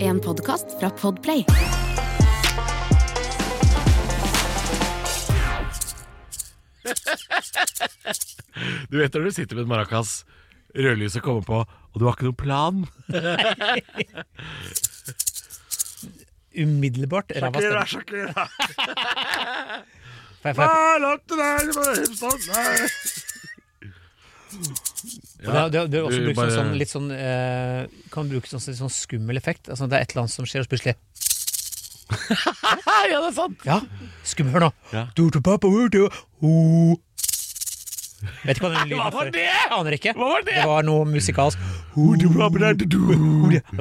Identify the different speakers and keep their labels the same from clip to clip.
Speaker 1: en podkast fra Podplay.
Speaker 2: Du vet når du sitter med en maracas, rødlyset kommer på, og du har ikke noen plan?
Speaker 3: Umiddelbart ræva
Speaker 2: Sjakkera,
Speaker 3: stemning.
Speaker 2: sjakkera.
Speaker 3: Feil, feil.
Speaker 2: Ah, langt det der, det var hemsomt. sånn. Nei.
Speaker 3: Og det, det, det er også
Speaker 2: Du
Speaker 3: brukt som
Speaker 2: bare-
Speaker 3: sånn, litt sånn eh, Kan brukes som sånn, sånn skummel effekt. Altså, det er et eller annet som skjer, og så plutselig sånn-
Speaker 2: Ja, det er sant.
Speaker 3: Ja, skummel, hør nå.
Speaker 2: Ja.
Speaker 3: Du, du, pappa, du, du, ho. Vet ikke hva den lyden
Speaker 2: Hva var
Speaker 3: for-
Speaker 2: det?
Speaker 3: Jeg aner ikke.
Speaker 2: Hva var det?
Speaker 3: var noe musikalsk.
Speaker 2: Ja,
Speaker 3: Det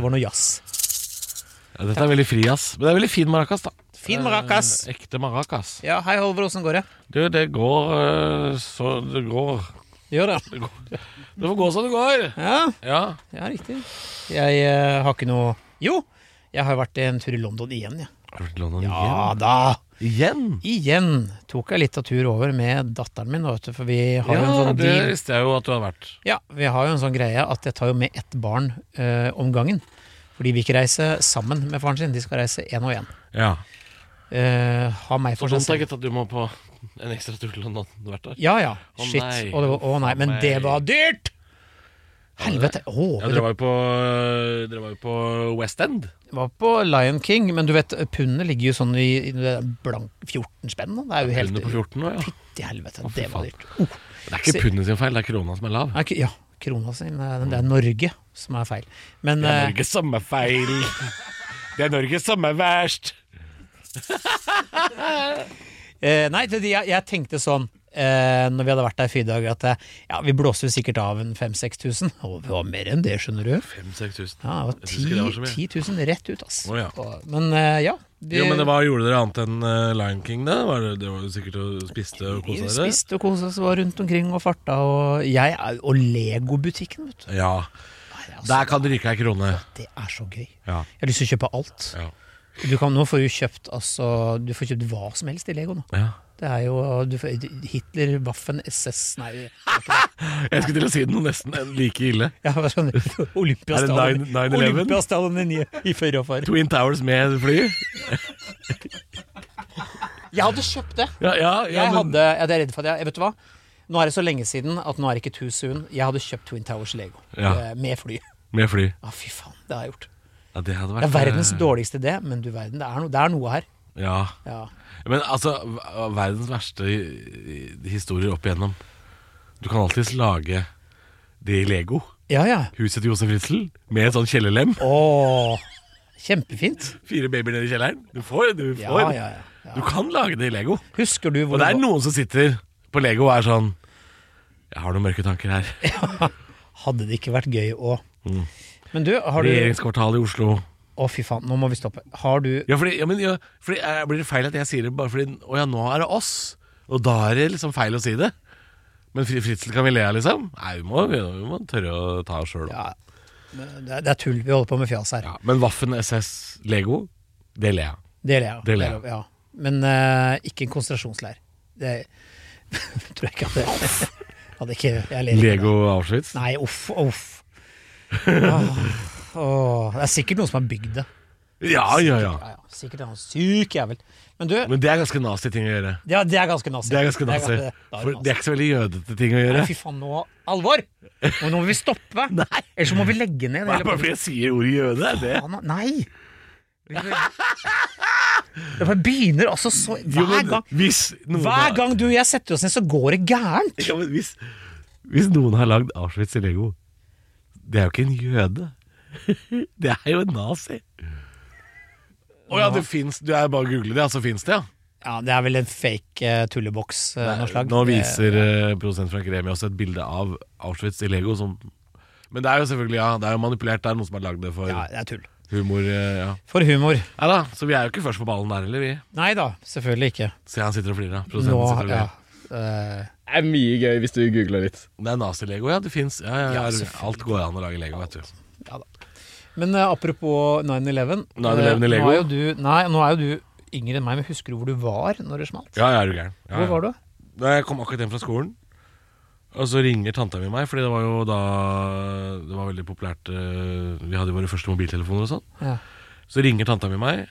Speaker 3: var noe jazz.
Speaker 2: dette er veldig fri, ass. Men det er veldig fin maracas, da.
Speaker 3: Fin maracas.
Speaker 2: Eh, Ekte maracas.
Speaker 3: Ja, hei, Halvor, åssen går det?
Speaker 2: Du, det går eh, så det går.
Speaker 3: Gjør det.
Speaker 2: Det går. Det får gå som det går.
Speaker 3: Ja,
Speaker 2: Ja.
Speaker 3: ja riktig. Jeg eh, har ikke noe Jo, jeg har vært en tur i London igjen, jeg.
Speaker 2: Har du vært i London
Speaker 3: Ja da!
Speaker 2: igjen?
Speaker 3: Igjen tok jeg litt av tur over med datteren min, vet du, for vi har jo en
Speaker 2: Ja,
Speaker 3: sånn
Speaker 2: det
Speaker 3: deal.
Speaker 2: visste jeg jo at du hadde vært.
Speaker 3: Ja, vi har jo en sånn greie at jeg tar jo med ett barn eh, om gangen. For de vil ikke reise sammen med faren sin, de skal reise én og én.
Speaker 2: Ja.
Speaker 3: Eh, ha meg
Speaker 2: Så
Speaker 3: for seg
Speaker 2: dumt da,
Speaker 3: selv.
Speaker 2: gitt, at du må på en ekstra tur til London hvert år.
Speaker 3: Ja ja,
Speaker 2: Å
Speaker 3: shit.
Speaker 2: nei.
Speaker 3: Og det var, å nei, men
Speaker 2: Å nei.
Speaker 3: det var dyrt! Helvete. Å,
Speaker 2: Ja,
Speaker 3: det
Speaker 2: dere var jo på, dere var jo på West End.
Speaker 3: var på Lion King, men du vet, pundet ligger jo sånn i, i det der blank 14 spenn. da. Det er jo
Speaker 2: Helt på
Speaker 3: helt
Speaker 2: 14 nå, ja.
Speaker 3: Fytti helvete,
Speaker 2: Å, fy
Speaker 3: det var
Speaker 2: faen.
Speaker 3: dyrt. Oh.
Speaker 2: Det er ikke pundet sin feil, det er krona som er lav.
Speaker 3: Nei, ikke- Ja, krona sin. eh, Det er Norge som er feil. Men
Speaker 2: Det er
Speaker 3: eh,
Speaker 2: Norge som er feil. Det er Norge som er verst.
Speaker 3: eh, Nei, det, jeg, jeg tenkte sånn eh, når vi hadde vært der i fire dager, at eh, ja, vi blåste jo sikkert av en 5000-6000. Og det var mer enn det, skjønner du.
Speaker 2: 5000-6000.
Speaker 3: Ja, det var
Speaker 2: Jeg synes ikke det var så
Speaker 3: 10
Speaker 2: mye.
Speaker 3: 000 rett ut, ass.
Speaker 2: Å, ja.
Speaker 3: Og- Men eh, ja. vi-
Speaker 2: Jo, men det var, Gjorde dere annet enn eh, Lion King, da? Var det, det var jo sikkert å spiste og
Speaker 3: vi
Speaker 2: kose dere?
Speaker 3: spiste og kosa oss, var rundt omkring og farta. Og, jeg, er- og Lego-butikken, vet du.
Speaker 2: Ja.
Speaker 3: Nei, altså,
Speaker 2: Der kan du ryke ei krone.
Speaker 3: det er så gøy.
Speaker 2: Ja.
Speaker 3: Jeg har lyst til å kjøpe alt.
Speaker 2: Ja.
Speaker 3: Du kan, nå får du kjøpt altså, Du får kjøpt hva som helst i Lego nå.
Speaker 2: ja.
Speaker 3: Det er jo du, får- Hitler, Waffen, SS Nei,
Speaker 2: Jeg skulle til å si det noe nesten like ille.
Speaker 3: ja, hva sånn,
Speaker 2: Er det
Speaker 3: Olympiastallen
Speaker 2: nine- 9/11?
Speaker 3: Olympiastallen i, i før og far.
Speaker 2: Twin Towers med fly?
Speaker 3: Jeg hadde kjøpt det.
Speaker 2: Ja, ja, ja
Speaker 3: Jeg,
Speaker 2: men
Speaker 3: hadde, jeg er redd for at jeg, vet du hva? Nå er det så lenge siden at nå er det ikke too soon. Jeg hadde kjøpt Twin Towers Lego
Speaker 2: Ja.
Speaker 3: eh, med fly.
Speaker 2: Med fly.
Speaker 3: Ja, fy faen, det har jeg gjort.
Speaker 2: Ja, det hadde
Speaker 3: Det
Speaker 2: vært
Speaker 3: er verdens
Speaker 2: eh,
Speaker 3: dårligste idé, men du verden, det er, no, det er noe her.
Speaker 2: Ja.
Speaker 3: Ja.
Speaker 2: Men altså, v- verdens verste i- i- historier opp igjennom. Du kan alltids lage det i Lego.
Speaker 3: ja, ja.
Speaker 2: Huset til Josef Ritzel med et sånn kjellerlem.
Speaker 3: Åh, kjempefint.
Speaker 2: Fire babyer nede i kjelleren. Du får, du får.
Speaker 3: Ja, ja, ja,
Speaker 2: Du kan lage det i Lego.
Speaker 3: Husker du
Speaker 2: Og
Speaker 3: hvor
Speaker 2: det er
Speaker 3: du
Speaker 2: noen som sitter på Lego og er sånn Jeg har noen mørke tanker her.
Speaker 3: Hadde det ikke vært gøy å
Speaker 2: Mm.
Speaker 3: Men du, har du
Speaker 2: Regjeringskvartalet i Oslo.
Speaker 3: Å, fy faen, nå må vi stoppe. Har du
Speaker 2: Ja, fordi, ja, men, ja, fordi eh, Blir det feil at jeg sier det bare fordi Å ja, nå er det oss. Og da er det liksom feil å si det. Men Fri- Fritzel kan vi le av, liksom? Nei, vi må, vi, vi må tørre å ta oss sjøl.
Speaker 3: Ja, det er, det er tull. Vi holder på med fjas her.
Speaker 2: Ja, men Vaffen SS Lego, det ler jeg av.
Speaker 3: Det ler jeg av.
Speaker 2: Det ler jeg av.
Speaker 3: Ja. Men eh, ikke en konsentrasjonsleir. Det tror jeg ikke at det Hadde ikke Jeg ler ikke.
Speaker 2: Lego Auschwitz?
Speaker 3: Nei, uff, uff. Åh, åh. Det er sikkert noen som har bygd det.
Speaker 2: Ja, ja, ja.
Speaker 3: Ja, ja. Sikkert en syk jævel. Men du,
Speaker 2: Men det er ganske nazi ting å gjøre.
Speaker 3: ja, det er ganske nazi.
Speaker 2: Det er ganske nazi.
Speaker 3: ganske- da er det
Speaker 2: For det
Speaker 3: nazi.
Speaker 2: er ikke så veldig jødete ting å gjøre.
Speaker 3: Nei, Fy faen, nå Alvor! Og nå må vi stoppe!
Speaker 2: Nei.
Speaker 3: Ellers så må vi legge ned
Speaker 2: Nei, bare fordi jeg sier ordet jøde, er det
Speaker 3: Faen, Nei! Det bare begynner altså så
Speaker 2: Jo,
Speaker 3: Hver
Speaker 2: men
Speaker 3: gang
Speaker 2: Hvis noen
Speaker 3: Hver
Speaker 2: har-
Speaker 3: gang du og jeg setter oss ned, så går det gærent!
Speaker 2: Ja, men hvis, hvis noen har lagd Auschwitz i Lego Det er jo ikke en jøde Det er jo en nazi Åja, det finnes Du er bare å google det, ja, så finnes det, ja
Speaker 3: Ja, Det er vel en fake eh, tulleboks uh, noe slag.
Speaker 2: Nå
Speaker 3: Det-
Speaker 2: viser eh, produsent Frank Remi også et bilde av Auschwitz i Lego som, Men det er jo selvfølgelig, ja Det er jo manipulert, det er noen som har lagd det for
Speaker 3: Ja, det er tull.
Speaker 2: humor eh, ja.
Speaker 3: For humor.
Speaker 2: Nei da, så vi er jo ikke først på ballen der, eller vi
Speaker 3: Nei da, selvfølgelig ikke.
Speaker 2: Se, han sitter og flirer, ja.
Speaker 3: Nå,
Speaker 2: produsenten sitter og
Speaker 3: ja.
Speaker 2: flirer
Speaker 3: eh,
Speaker 4: Det er mye gøy hvis du googler litt.
Speaker 2: Det er nazi-Lego, ja, det finnes ja, ja,
Speaker 3: Ja,
Speaker 2: er-
Speaker 3: selvfølgelig.
Speaker 2: Alt går an å lage Lego, vet du
Speaker 3: ja da. Men eh, apropos 9-11.
Speaker 2: 9/11 i
Speaker 3: eh,
Speaker 2: Lego.
Speaker 3: Nå er, jo du, nei, nå er jo du yngre enn meg, men husker du hvor du var når det smalt?
Speaker 2: Ja, ja, er du gæren ja,
Speaker 3: Hvor
Speaker 2: ja.
Speaker 3: var du?
Speaker 2: Da jeg kom akkurat hjem fra skolen Og så ringer tanta mi meg Fordi det var jo da Det var veldig populært eh, Vi hadde jo våre første mobiltelefoner og sånn
Speaker 3: Ja.
Speaker 2: Så ringer tanta mi meg.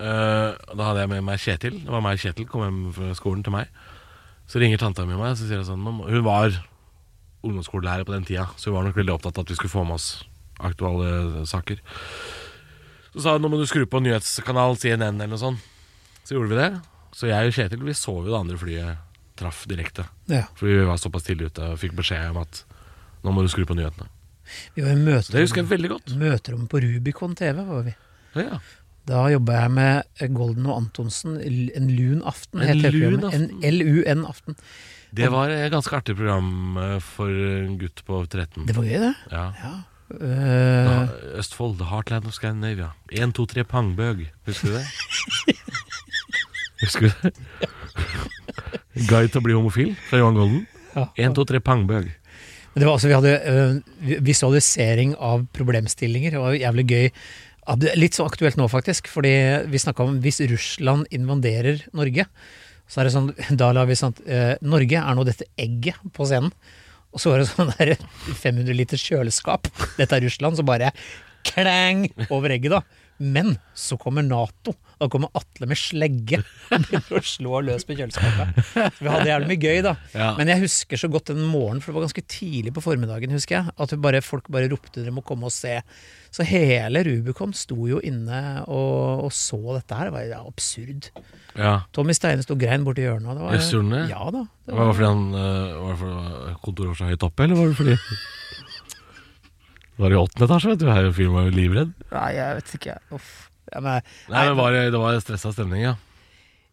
Speaker 2: Eh, da hadde jeg med meg Kjetil. Det var meg og Kjetil kom hjem fra skolen til meg. Så ringer tanta mi meg, så sier hun sånn nå må- Hun var ungdomsskolelærer på den tida, så hun var nok veldig opptatt av at vi skulle få med oss aktuelle saker. Så sa hun nå må du skru på nyhetskanal CNN eller noe sånt. Så gjorde vi det. Så jeg og Kjetil vi så jo det andre flyet traff direkte.
Speaker 3: Ja.
Speaker 2: For vi var såpass tidlig ute og fikk beskjed om at nå må du skru på nyhetene.
Speaker 3: Vi var i
Speaker 2: Så det
Speaker 3: møterom,
Speaker 2: husker jeg veldig godt.
Speaker 3: møterommet på Rubicon TV. var vi.
Speaker 2: Ja.
Speaker 3: Da jobba jeg med Golden og Antonsen. L- En lun aften,
Speaker 2: En
Speaker 3: het det
Speaker 2: lun
Speaker 3: programmet. En LUN-aften.
Speaker 2: Det var et ganske artig program eh, for en gutt på 13.
Speaker 3: Det var gøy, det.
Speaker 2: Ja.
Speaker 3: Ja. Eh,
Speaker 2: Da- Østfold, The Heartland of Scandinavia. 1, 2, 3, Pangbøg. Husker du det? Husker du det? Guide til å bli homofil fra Johan Golden.
Speaker 3: Ja.
Speaker 2: 1, 2, 3, Pangbøg.
Speaker 3: Men det var også, vi hadde øh, visualisering av problemstillinger, og det var jævlig gøy. Ja, det er Litt så aktuelt nå, faktisk, fordi vi snakka om hvis Russland invaderer Norge, så er det sånn, da la vi sånn øh, Norge er nå dette egget på scenen. Og så var det sånn der 500 liters kjøleskap. Dette er Russland, så bare klang over egget, da. Men så kommer Nato. Da kommer Atle med slegge og begynner å slå løs på kjøleskapet. Så vi hadde jævlig mye gøy, da.
Speaker 2: Ja.
Speaker 3: Men jeg husker så godt den morgenen, for det var ganske tidlig på formiddagen, husker jeg, at vi bare, folk bare ropte 'dere må komme og se'. Så hele Rubicon sto jo inne og, og så dette her. Det var ja, absurd.
Speaker 2: Ja.
Speaker 3: Tommy Steine sto og grein borti hjørnet. og Det var,
Speaker 2: Yes, gjorde han det?
Speaker 3: Ja da. Det
Speaker 2: Var det fordi han eh, Var det fordi kontoret var så høyt oppe, eller var det fordi Det var i åttende etasje, vet du. Her fyren var jo livredd.
Speaker 3: Nei, jeg vet ikke. Uff. Ja, men,
Speaker 2: Nei, men var det, det var stressa stemning, ja.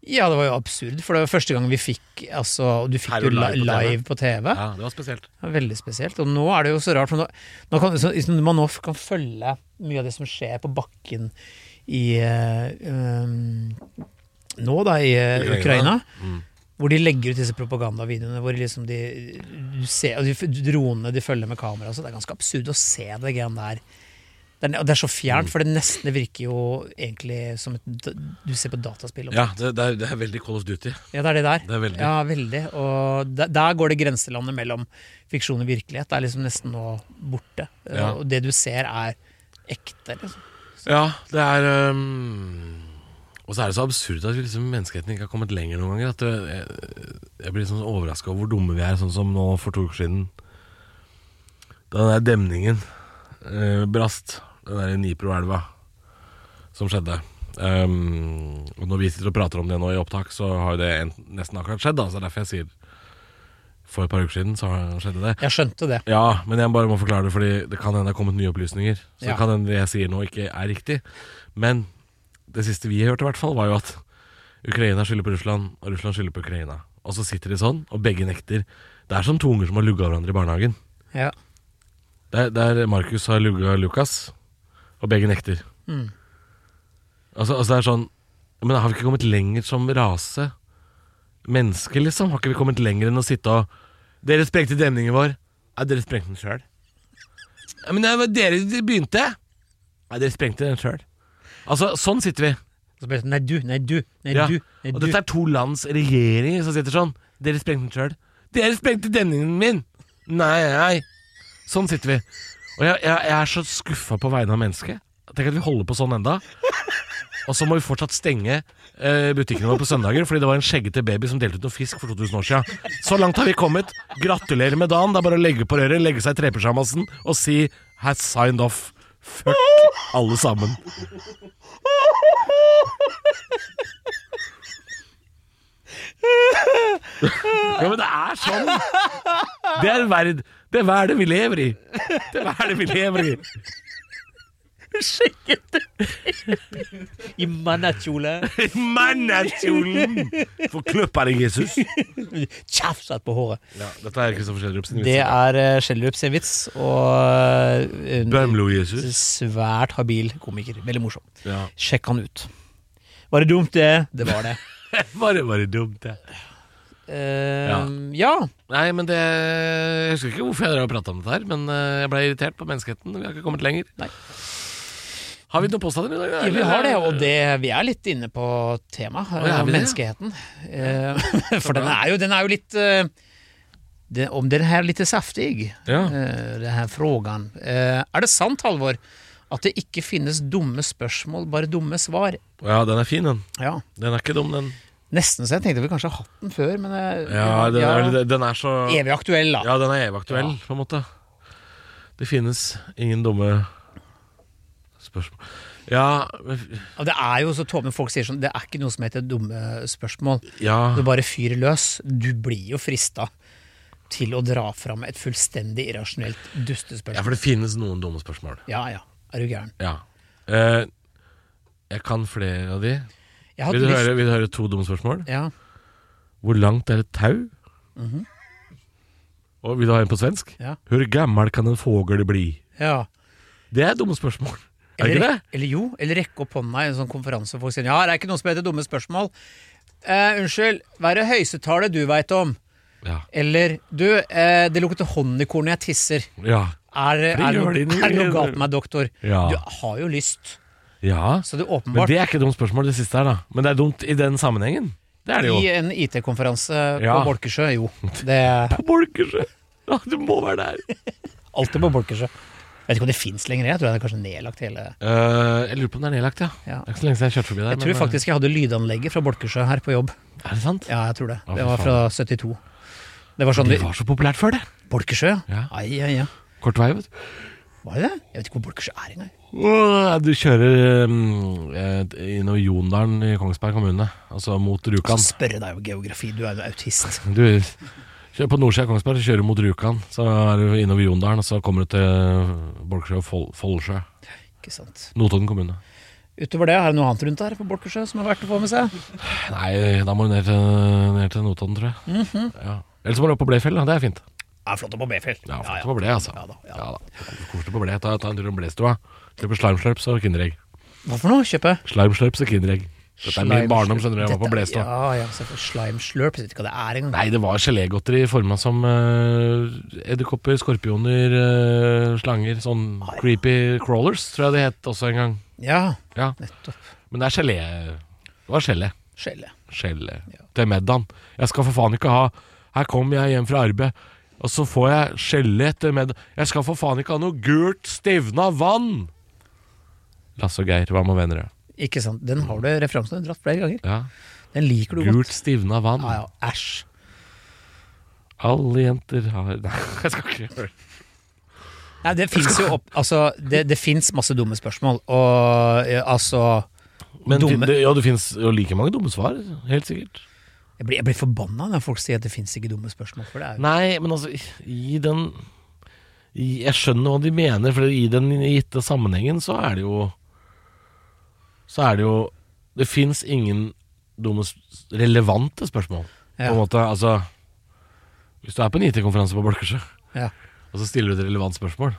Speaker 3: ja, det var jo absurd, for det var første gang vi fikk altså, og Du fikk
Speaker 2: Her
Speaker 3: jo
Speaker 2: og
Speaker 3: li-
Speaker 2: live på TV.
Speaker 3: live på TV.
Speaker 2: ja. Det var spesielt.
Speaker 3: Det var veldig spesielt. Og nå er det jo så rart, for nå, nå kan, så, hvis man nå kan følge mye av det som skjer på bakken i eh, um, Nå, da, i eh,
Speaker 2: Ukraina.
Speaker 3: Ukraina.
Speaker 2: Mm.
Speaker 3: Hvor de legger ut disse propagandavideoene hvor liksom de, du ser, og de f- dronene de følger med kamera. og Så det er ganske absurd å se det greiene der. Det er, og det er så
Speaker 2: Mm.
Speaker 3: fjernt, for det nesten det virker jo egentlig som et, d- du ser på dataspill.
Speaker 2: Ja, det, det, er, det er veldig Call of Duty.
Speaker 3: Ja, det er det der.
Speaker 2: Det er veldig.
Speaker 3: Ja, veldig. Og der, der går det grenselandet mellom fiksjon og virkelighet. Det er liksom nesten nå borte. Eh,
Speaker 2: Ja.
Speaker 3: Og det du ser, er ekte. Liksom.
Speaker 2: Ja, det er øhm, Og så er det så absurd at vi liksom, menneskeheten ikke har kommet lenger noen ganger. At det, jeg, jeg blir sånn overraska over hvor dumme vi er, sånn som nå for to uker siden. Da den der demningen eh, brast, den der Nipro-elva, som skjedde. Ehm, og når vi sitter og prater om det nå i opptak, så har jo det en, nesten akkurat skjedd. Da, så det er derfor jeg sier for et par uker siden så har- skjedde det.
Speaker 3: Jeg skjønte det.
Speaker 2: Ja, men jeg bare må forklare det, fordi det kan hende det er kommet nye opplysninger. Så
Speaker 3: Ja.
Speaker 2: det kan hende det jeg sier nå, ikke er riktig. Men det siste vi hørte, i hvert fall, var jo at Ukraina skylder på Russland, og Russland skylder på Ukraina. Og så sitter de sånn, og begge nekter. Det er som to unger som har lugga hverandre i barnehagen.
Speaker 3: Ja.
Speaker 2: Der, der Markus har lugga Lukas, og begge nekter.
Speaker 3: Mm.
Speaker 2: Altså, altså det er sånn Men har vi ikke kommet lenger som rase? Mennesker, liksom? Har ikke vi kommet lenger enn å sitte og Dere sprengte demningen vår. Nei, dere sprengte den sjøl. Ja, men det var dere som begynte. Nei, dere sprengte den sjøl. Altså, sånn sitter vi.
Speaker 3: Og så ble det sånn Nei, du, nei, du, nei,
Speaker 2: Ja.
Speaker 3: du. Nei,
Speaker 2: Og
Speaker 3: du.
Speaker 2: dette er to lands regjeringer som sitter sånn. Dere sprengte den sjøl. Dere sprengte demningen min! Nei, nei. Sånn sitter vi. Og jeg, jeg, jeg er så skuffa på vegne av mennesket. Tenk at vi holder på sånn enda. Og så må vi fortsatt stenge eh, butikkene våre på søndager fordi det var en skjeggete baby som delte ut noe fisk for 2000 år siden. Så langt har vi kommet. Gratulerer med dagen. Det er bare å legge på røret, legge seg i trepysjamasen og si 'has signed off'. Fuck alle sammen. Ja, men det er sånn. Det er verd. Det er verden vi lever i. Det er verden vi lever i.
Speaker 3: Skjeggete I mannekjole.
Speaker 2: Mannekjolen! Få kløppa deg, Jesus.
Speaker 3: Tjafset på håret.
Speaker 2: Ja, dette er Kristoffer Schjelderup sin
Speaker 3: Det
Speaker 2: vits.
Speaker 3: er eh, Schjelderup sin vits, og eh, en
Speaker 2: Bømlo-Jesus.
Speaker 3: svært habil komiker. Veldig morsom.
Speaker 2: Ja.
Speaker 3: Sjekk han ut. Var det dumt, det? Det var det.
Speaker 2: Bare, bare dumt, det.
Speaker 3: Eh, ja.
Speaker 2: Nei, men det Jeg husker ikke hvorfor jeg drev og prata om dette her, men eh, jeg ble irritert på menneskeheten. Vi har ikke kommet lenger.
Speaker 3: Nei.
Speaker 2: Har vi noen påstander i dag?
Speaker 3: Ja, vi har det, og det, vi er litt inne på temaet,
Speaker 2: ja, er vi det?
Speaker 3: menneskeheten. Eh, For den er jo, den er jo litt eh, det, Om den her er litt saftig,
Speaker 2: Ja.
Speaker 3: eh, den her frågan. Eh, Er det sant, Halvor, At det ikke finnes dumme spørsmål, bare dumme svar.
Speaker 2: Ja, den er fin, den.
Speaker 3: Ja.
Speaker 2: Den er ikke dum, den.
Speaker 3: Nesten så jeg tenkte vi kanskje har hatt den før, men jeg,
Speaker 2: Ja, den
Speaker 3: ja,
Speaker 2: er, den er så
Speaker 3: Evig aktuell, da.
Speaker 2: Ja, den er evig aktuell, på en måte. Det finnes ingen dumme spørsmål Ja, men-
Speaker 3: Og Det er jo så tåpelig folk sier sånn Det er ikke noe som heter dumme spørsmål.
Speaker 2: ja.
Speaker 3: Du Ah. bare fyrer løs. Du blir jo frista til å dra fram et fullstendig irrasjonelt
Speaker 2: ja,
Speaker 3: dustespørsmål.
Speaker 2: for det finnes noen dumme spørsmål.
Speaker 3: Ja ja, er du gæren.
Speaker 2: Ja. Eh, jeg kan flere av de.
Speaker 3: Jeg hadde
Speaker 2: Vil du,
Speaker 3: lyst-
Speaker 2: høre, vil du høre to dumme spørsmål?
Speaker 3: Ja.
Speaker 2: Hvor langt er et tau? Og vil du ha en på svensk?
Speaker 3: Ja.
Speaker 2: Hvor gammel kan en fågel bli?
Speaker 3: ja.
Speaker 2: Det er dumme spørsmål. Er det
Speaker 3: Eller,
Speaker 2: ikke det?
Speaker 3: eller jo, eller rekke opp hånda i en sånn konferanse hvor folk sier ja, det er ikke noe som heter dumme spørsmål. Eh, unnskyld, hva er det høyestetallet du veit om?
Speaker 2: Ja.
Speaker 3: Eller du, eh, det lukter honningkorn når jeg tisser.
Speaker 2: Ja.
Speaker 3: Er, er, det
Speaker 2: gjør
Speaker 3: noe-
Speaker 2: de nå.
Speaker 3: er det noe galt med meg, doktor?
Speaker 2: Ja.
Speaker 3: Du har jo lyst,
Speaker 2: ja.
Speaker 3: så det er
Speaker 2: Men
Speaker 3: åpenbart
Speaker 2: det er ikke dumt spørsmål, det siste her, da. Men det er dumt i den sammenhengen. Det er det jo.
Speaker 3: I en IT-konferanse på
Speaker 2: Ja.
Speaker 3: Bolkesjø, jo. Det er
Speaker 2: På Bolkersjø! Ja, du må være der.
Speaker 3: alltid på Bolkesjø. Jeg vet ikke om det fins lenger, jeg tror jeg det er kanskje nedlagt hele
Speaker 2: Eh, jeg lurer på om det er nedlagt, ja.
Speaker 3: Ja.
Speaker 2: Det er ikke så lenge siden jeg kjørte forbi der.
Speaker 3: Jeg tror
Speaker 2: men, eh,
Speaker 3: faktisk jeg hadde lydanlegget fra Bolkesjø her på jobb.
Speaker 2: Er det sant?
Speaker 3: Ja, jeg tror det.
Speaker 2: Å, fy
Speaker 3: Det var fra 72. Det var sånn
Speaker 2: Det var så populært før, det.
Speaker 3: Bolkesjø, ja.
Speaker 2: Ja.
Speaker 3: Ai, ai, ai.
Speaker 2: Kort vei, vet du.
Speaker 3: Var det det? Jeg vet ikke hvor Bolkesjø er engang.
Speaker 2: Åh, Du kjører um, innover Jondalen i Kongsberg kommune, altså mot
Speaker 3: Kan
Speaker 2: Rjukan.
Speaker 3: spørre deg om geografi, du er jo autist.
Speaker 2: Du kjører på nordsida av Kongsberg, så kjører du mot Rjukan. Så er du innover Jondalen, og så kommer du til Bolkesjø og Fol- Foldsjø.
Speaker 3: Ikke sant.
Speaker 2: Notodden kommune.
Speaker 3: Utover det, er det noe annet rundt her på Bolkesjø som er verdt å få med seg?
Speaker 2: Nei, da må du ned til, ned til Notodden, tror jeg.
Speaker 3: Mhm.
Speaker 2: ja. Eller så må du opp på Blefjell, da. Det er fint.
Speaker 3: Ja, flott å på Befjell.
Speaker 2: Ja, flott på Ble, altså.
Speaker 3: Ja da, ja.
Speaker 2: Koselig på Ble. Ta, ta en tur om Blestua. Kjøp slimeslurps og Kinderegg.
Speaker 3: Hva for noe? Kjøpe?
Speaker 2: Slimeslurps og Kinderegg. Dette er min
Speaker 3: Slime-
Speaker 2: barndom, skjønner du. Jeg var på
Speaker 3: Dette-
Speaker 2: Blestua.
Speaker 3: Ja, ja, selvfølgelig. slime slurp, jeg vet ikke hva det er engang.
Speaker 2: Nei, det var gelégodteri forma som uh, edderkopper, skorpioner, eh, slanger. Sånn
Speaker 3: Ah, ja.
Speaker 2: creepy crawlers, tror jeg det het også en gang.
Speaker 3: Ja,
Speaker 2: Ja.
Speaker 3: nettopp.
Speaker 2: Men det er gelé. Det var gelé.
Speaker 3: Skjellet.
Speaker 2: Gelé
Speaker 3: Ja.
Speaker 2: til middagen. Jeg skal for faen ikke ha Her kom jeg hjem fra arbeid, og så får jeg gelé til middag. Jeg skal for faen ikke ha noe gult, stivna vann! Lasse og Geir, hva med venner? ja?
Speaker 3: Ikke sant. Den har du referansen du har dratt flere ganger.
Speaker 2: Ja.
Speaker 3: Den liker du
Speaker 2: Gult,
Speaker 3: godt.
Speaker 2: stivna vann.
Speaker 3: Ja, ja, æsj.
Speaker 2: Alle jenter har Nei, jeg skal ikke gjøre det.
Speaker 3: Nei, det fins jo opp... Altså, det, det fins masse dumme spørsmål, og eh, altså
Speaker 2: Men
Speaker 3: Dumme.
Speaker 2: Det, ja, det finnes jo like mange dumme svar, helt sikkert.
Speaker 3: Jeg blir, jeg blir forbanna når folk sier at det fins ikke dumme spørsmål, for det er jo
Speaker 2: Nei, men altså, i den i, Jeg skjønner hva de mener, for i den gitte sammenhengen så er det jo Så er det jo Det fins ingen dumme, s- relevante spørsmål, på
Speaker 3: Ja.
Speaker 2: en måte. Altså Hvis du er på en IT-konferanse på Bolkesjø,
Speaker 3: Ja.
Speaker 2: og så stiller du et relevant spørsmål,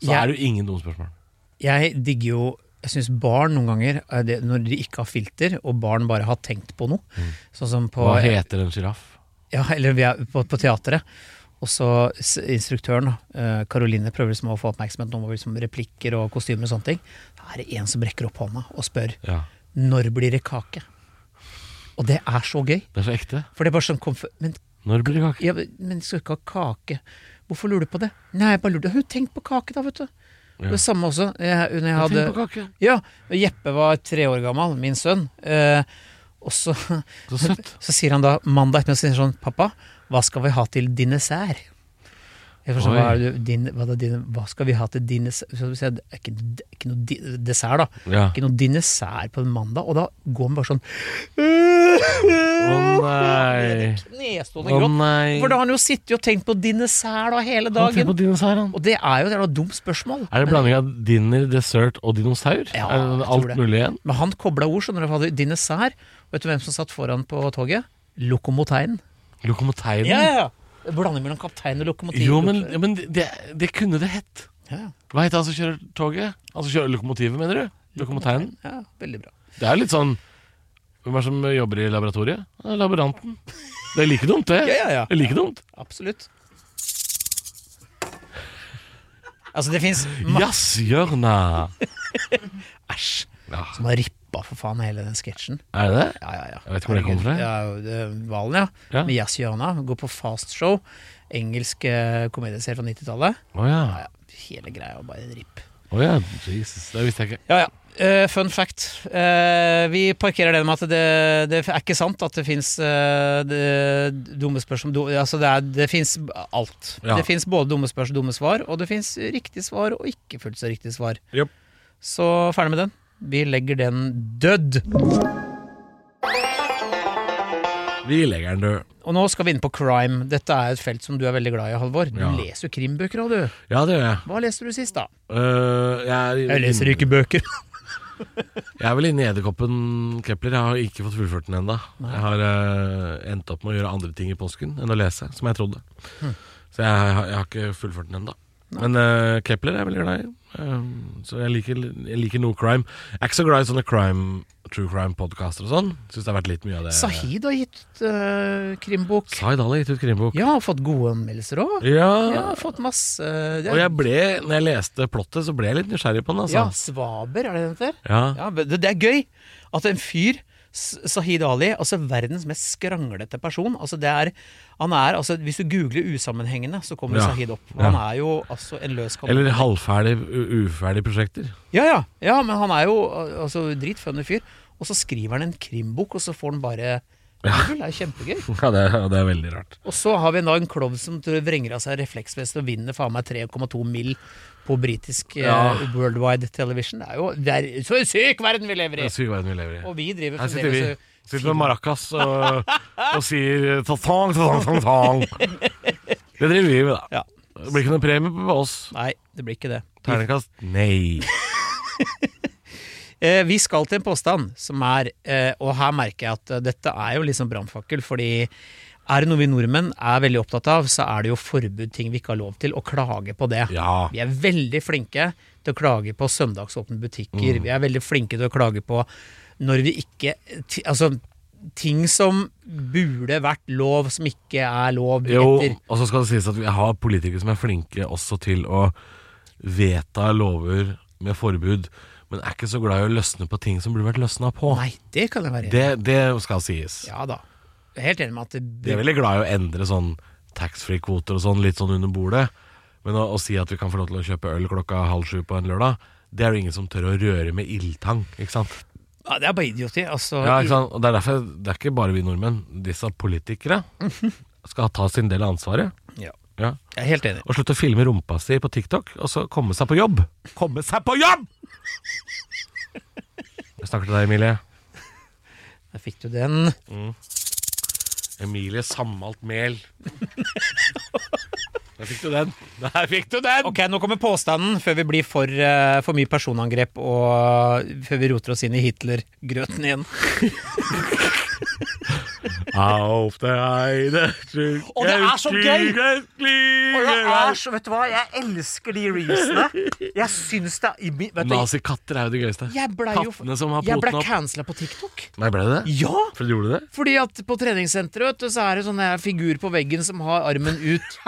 Speaker 2: så
Speaker 3: Jeg-
Speaker 2: er det jo ingen dumme spørsmål.
Speaker 3: Jeg digger jo jeg syns barn noen ganger, eh, det, når de ikke har filter, og barn bare har tenkt på noe Sånn som på,
Speaker 2: Mm. Hva heter en sjiraff?
Speaker 3: ja, eller vi er på, på teateret. Og så s- instruktøren, da, eh, Caroline, prøver liksom å få oppmerksomhet om liksom replikker og kostymer og sånne ting. Da er det en som rekker opp hånda og spør
Speaker 2: Ja.
Speaker 3: når blir det kake? Og det er så gøy.
Speaker 2: Det er så ekte.
Speaker 3: For det er bare sånn konf Men
Speaker 2: Når blir det kake?
Speaker 3: ja, men skal ikke ha kake. Hvorfor lurer du på det? Nei, jeg bare lurte. Hun tenkte på kake, da, vet du.
Speaker 2: Ja.
Speaker 3: Det samme også. Jeg, når jeg hadde,
Speaker 2: Tenk på kake.
Speaker 3: ja, når Jeppe var tre år gammel, min sønn. Eh, og så,
Speaker 2: Så søtt.
Speaker 3: så sier han da mandag ettermiddag så sier han sånn Pappa, hva skal vi ha til din dessert? Jeg forstår,
Speaker 2: Oi.
Speaker 3: hva, er det, du- din, hva, da, din, hva skal vi ha til din dessert? Så du sier, det er Ikke, det er ikke noe di, dessert, da.
Speaker 2: Ja.
Speaker 3: Ikke noe dessert på en mandag. Og da går han bare sånn
Speaker 2: Å nei.
Speaker 3: Knestående
Speaker 2: Å
Speaker 3: gråt.
Speaker 2: nei.
Speaker 3: For da har han jo sittet og tenkt på dessert da hele
Speaker 2: Han tenker
Speaker 3: dagen.
Speaker 2: på dinosaur, han.
Speaker 3: Og det er jo et jævla dumt spørsmål.
Speaker 2: Er det blanding av dinner, dessert og dinosaur?
Speaker 3: Ja,
Speaker 2: er
Speaker 3: jeg
Speaker 2: det
Speaker 3: tror
Speaker 2: alt
Speaker 3: det.
Speaker 2: mulig igjen?
Speaker 3: Men han kobla ord, skjønner du. for han hadde Dinosaur. Vet du hvem som satt foran på toget? Lokomoteinen.
Speaker 2: Lokomoteinen?
Speaker 3: ja. Blander mellom kaptein og lokomotiv.
Speaker 2: Jo, men, men det, det kunne det hett.
Speaker 3: ja,
Speaker 2: Hva heter han som kjører toget? Han som kjører lokomotivet, mener du? Lokomoteinen?
Speaker 3: ja, veldig bra.
Speaker 2: Det er litt sånn Hvem er det som jobber i laboratoriet? Ja, Laboranten. Det er like dumt, det.
Speaker 3: Ja, ja, ja.
Speaker 2: Det er like dumt.
Speaker 3: Absolutt. Altså, det fins
Speaker 2: Jazzhjørna.
Speaker 3: Æsj!
Speaker 2: Ja.
Speaker 3: Som har rippa for faen hele den sketsjen.
Speaker 2: Er det det?
Speaker 3: Ja, ja, ja.
Speaker 2: Jeg vet ikke hvor det kommer fra.
Speaker 3: Ja, det- Valen, ja.
Speaker 2: Ja.
Speaker 3: Med jazzhjørna. Går på Fast Show. Engelsk eh, komedieserie fra 90-tallet.
Speaker 2: Å ja.
Speaker 3: Ja, ja. Hele greia var bare en ripp.
Speaker 2: Å ja, Jesus. Det visste jeg ikke.
Speaker 3: Ja, ja. Eh, fun fact. Eh, vi parkerer det med at det, det er ikke sant at det fins dumme spørsmål du, Altså, det, er- det fins alt.
Speaker 2: Ja.
Speaker 3: Det fins både dumme spørsmål og dumme svar, og det fins riktig svar og ikke fullt så riktig svar.
Speaker 2: Jopp.
Speaker 3: Så ferdig med den. Vi legger den død.
Speaker 2: Vi legger den død.
Speaker 3: Og nå skal vi inn på crime. Dette er et felt som du er veldig glad i, Halvor. Du
Speaker 2: Ja.
Speaker 3: leser jo krimbøker òg, du.
Speaker 2: Ja, det gjør jeg.
Speaker 3: Hva leste du sist, da?
Speaker 2: Øh, jeg, er,
Speaker 3: Jeg leser ikke bøker.
Speaker 2: Jeg er vel inne i Edderkoppen Kepler. Jeg har ikke fått fullført den ennå.
Speaker 3: Nei.
Speaker 2: Jeg har eh, endt opp med å gjøre andre ting i påsken enn å lese, som jeg trodde.
Speaker 3: Hm.
Speaker 2: Så jeg, har- jeg har ikke fullført den ennå. Men eh, Kepler er jeg veldig glad i. Eh, så jeg liker, jeg liker noe crime. Jeg er ikke så glad i sånne crime, true crime-podkaster og sånn. Syns det har vært litt mye av det.
Speaker 3: Sahid har gitt ut eh, krimbok.
Speaker 2: Sahid Ali har gitt ut krimbok.
Speaker 3: Ja, og fått gode anmeldelser òg. Ja,
Speaker 2: Ja.
Speaker 3: har fått masse det,
Speaker 2: Og jeg ble, når jeg leste plottet, så ble jeg litt nysgjerrig på den,
Speaker 3: Ja,
Speaker 2: altså.
Speaker 3: Svaber, er det den heter?
Speaker 2: Ja.
Speaker 3: Ja, men det, det er gøy at en fyr S- Sahid Ali, altså verdens mest skranglete person. Altså det er, han er, altså Hvis du googler usammenhengende, så kommer
Speaker 2: Ja,
Speaker 3: Sahid opp.
Speaker 2: ja.
Speaker 3: Han er jo altså en løs kanon.
Speaker 2: Eller halvferdig, u- uferdig prosjekter.
Speaker 3: Ja, ja, ja, men han er jo al- altså, dritfunny fyr. Og så skriver han en krimbok, og så får han bare Null, Det er kjempegøy.
Speaker 2: Ja, det, er- det er veldig rart.
Speaker 3: Og så har vi da en klovn som tror- vrenger av seg refleksvest og vinner faen meg 3,2 mill. på britisk eh,
Speaker 2: Ja.
Speaker 3: worldwide television. Det er jo det er, Så en syk verden vi lever i!
Speaker 2: Det er syk verden vi lever i.
Speaker 3: Og vi driver
Speaker 2: Her sitter vi
Speaker 3: fremdeles
Speaker 2: sitter med maracas og, og sier ta-tang, ta-tang, ta-tang. Det driver vi med, da.
Speaker 3: Ja.
Speaker 2: Det blir ikke noen premie på oss.
Speaker 3: Nei, det blir ikke det.
Speaker 2: Ternekast nei.
Speaker 3: Eh, vi skal til en påstand som er eh, Og her merker jeg at eh, dette er jo liksom brannfakkel, fordi er det noe vi nordmenn er veldig opptatt av, så er det jo forbud, ting vi ikke har lov til, og klage på det.
Speaker 2: Ja.
Speaker 3: Vi er veldig flinke til å klage på søndagsåpne butikker.
Speaker 2: Mm.
Speaker 3: Vi er veldig flinke til å klage på når vi ikke ti- Altså, ting som burde vært lov, som ikke er lov
Speaker 2: Jo,
Speaker 3: etter
Speaker 2: og så skal det sies at vi har politikere som er flinke også til å vedta lover med forbud, men er ikke så glad i å løsne på ting som burde vært løsna på.
Speaker 3: Nei, det kan jeg være enig i.
Speaker 2: Det, det skal sies.
Speaker 3: Ja da. Jeg er helt enig med at det,
Speaker 2: De er veldig glad i å endre sånn taxfree-kvoter og sånn litt sånn under bordet. Men å, å si at vi kan få lov til å kjøpe øl klokka halv sju på en lørdag, det er det ingen som tør å røre med ildtang. ikke sant?
Speaker 3: ja, det er bare idioti. Altså,
Speaker 2: Ja, ikke sant? Og Det er derfor det er ikke bare vi nordmenn. Disse politikere skal ta sin del av ansvaret.
Speaker 3: Ja.
Speaker 2: Ja.
Speaker 3: Jeg er helt enig.
Speaker 2: Og slutte å filme rumpa si på TikTok, og så komme seg på jobb! Komme seg på jobb! Jeg snakker til deg, Emilie.
Speaker 3: Der fikk du den.
Speaker 2: Emilie Sammalt Mel. Der fikk du den. Der fikk du den!
Speaker 3: Ok, Nå kommer påstanden, før vi blir for, eh, for mye personangrep og før vi roter oss inn i Hitler-grøten igjen.
Speaker 2: Auf der eine
Speaker 3: Og det er så gøy! Og det er så, vet du hva, jeg elsker de reelsene. Jeg syns det er vet du,
Speaker 2: Nazikatter er jo det gøyeste.
Speaker 3: Jeg blei jo
Speaker 2: Kattene som har
Speaker 3: Jeg ble
Speaker 2: poten opp.
Speaker 3: cancela på TikTok.
Speaker 2: Nei, ble det det?
Speaker 3: Ja!
Speaker 2: For du gjorde det?
Speaker 3: Fordi at på treningssenteret vet du, så er det sånn her figur på veggen som har armen ut.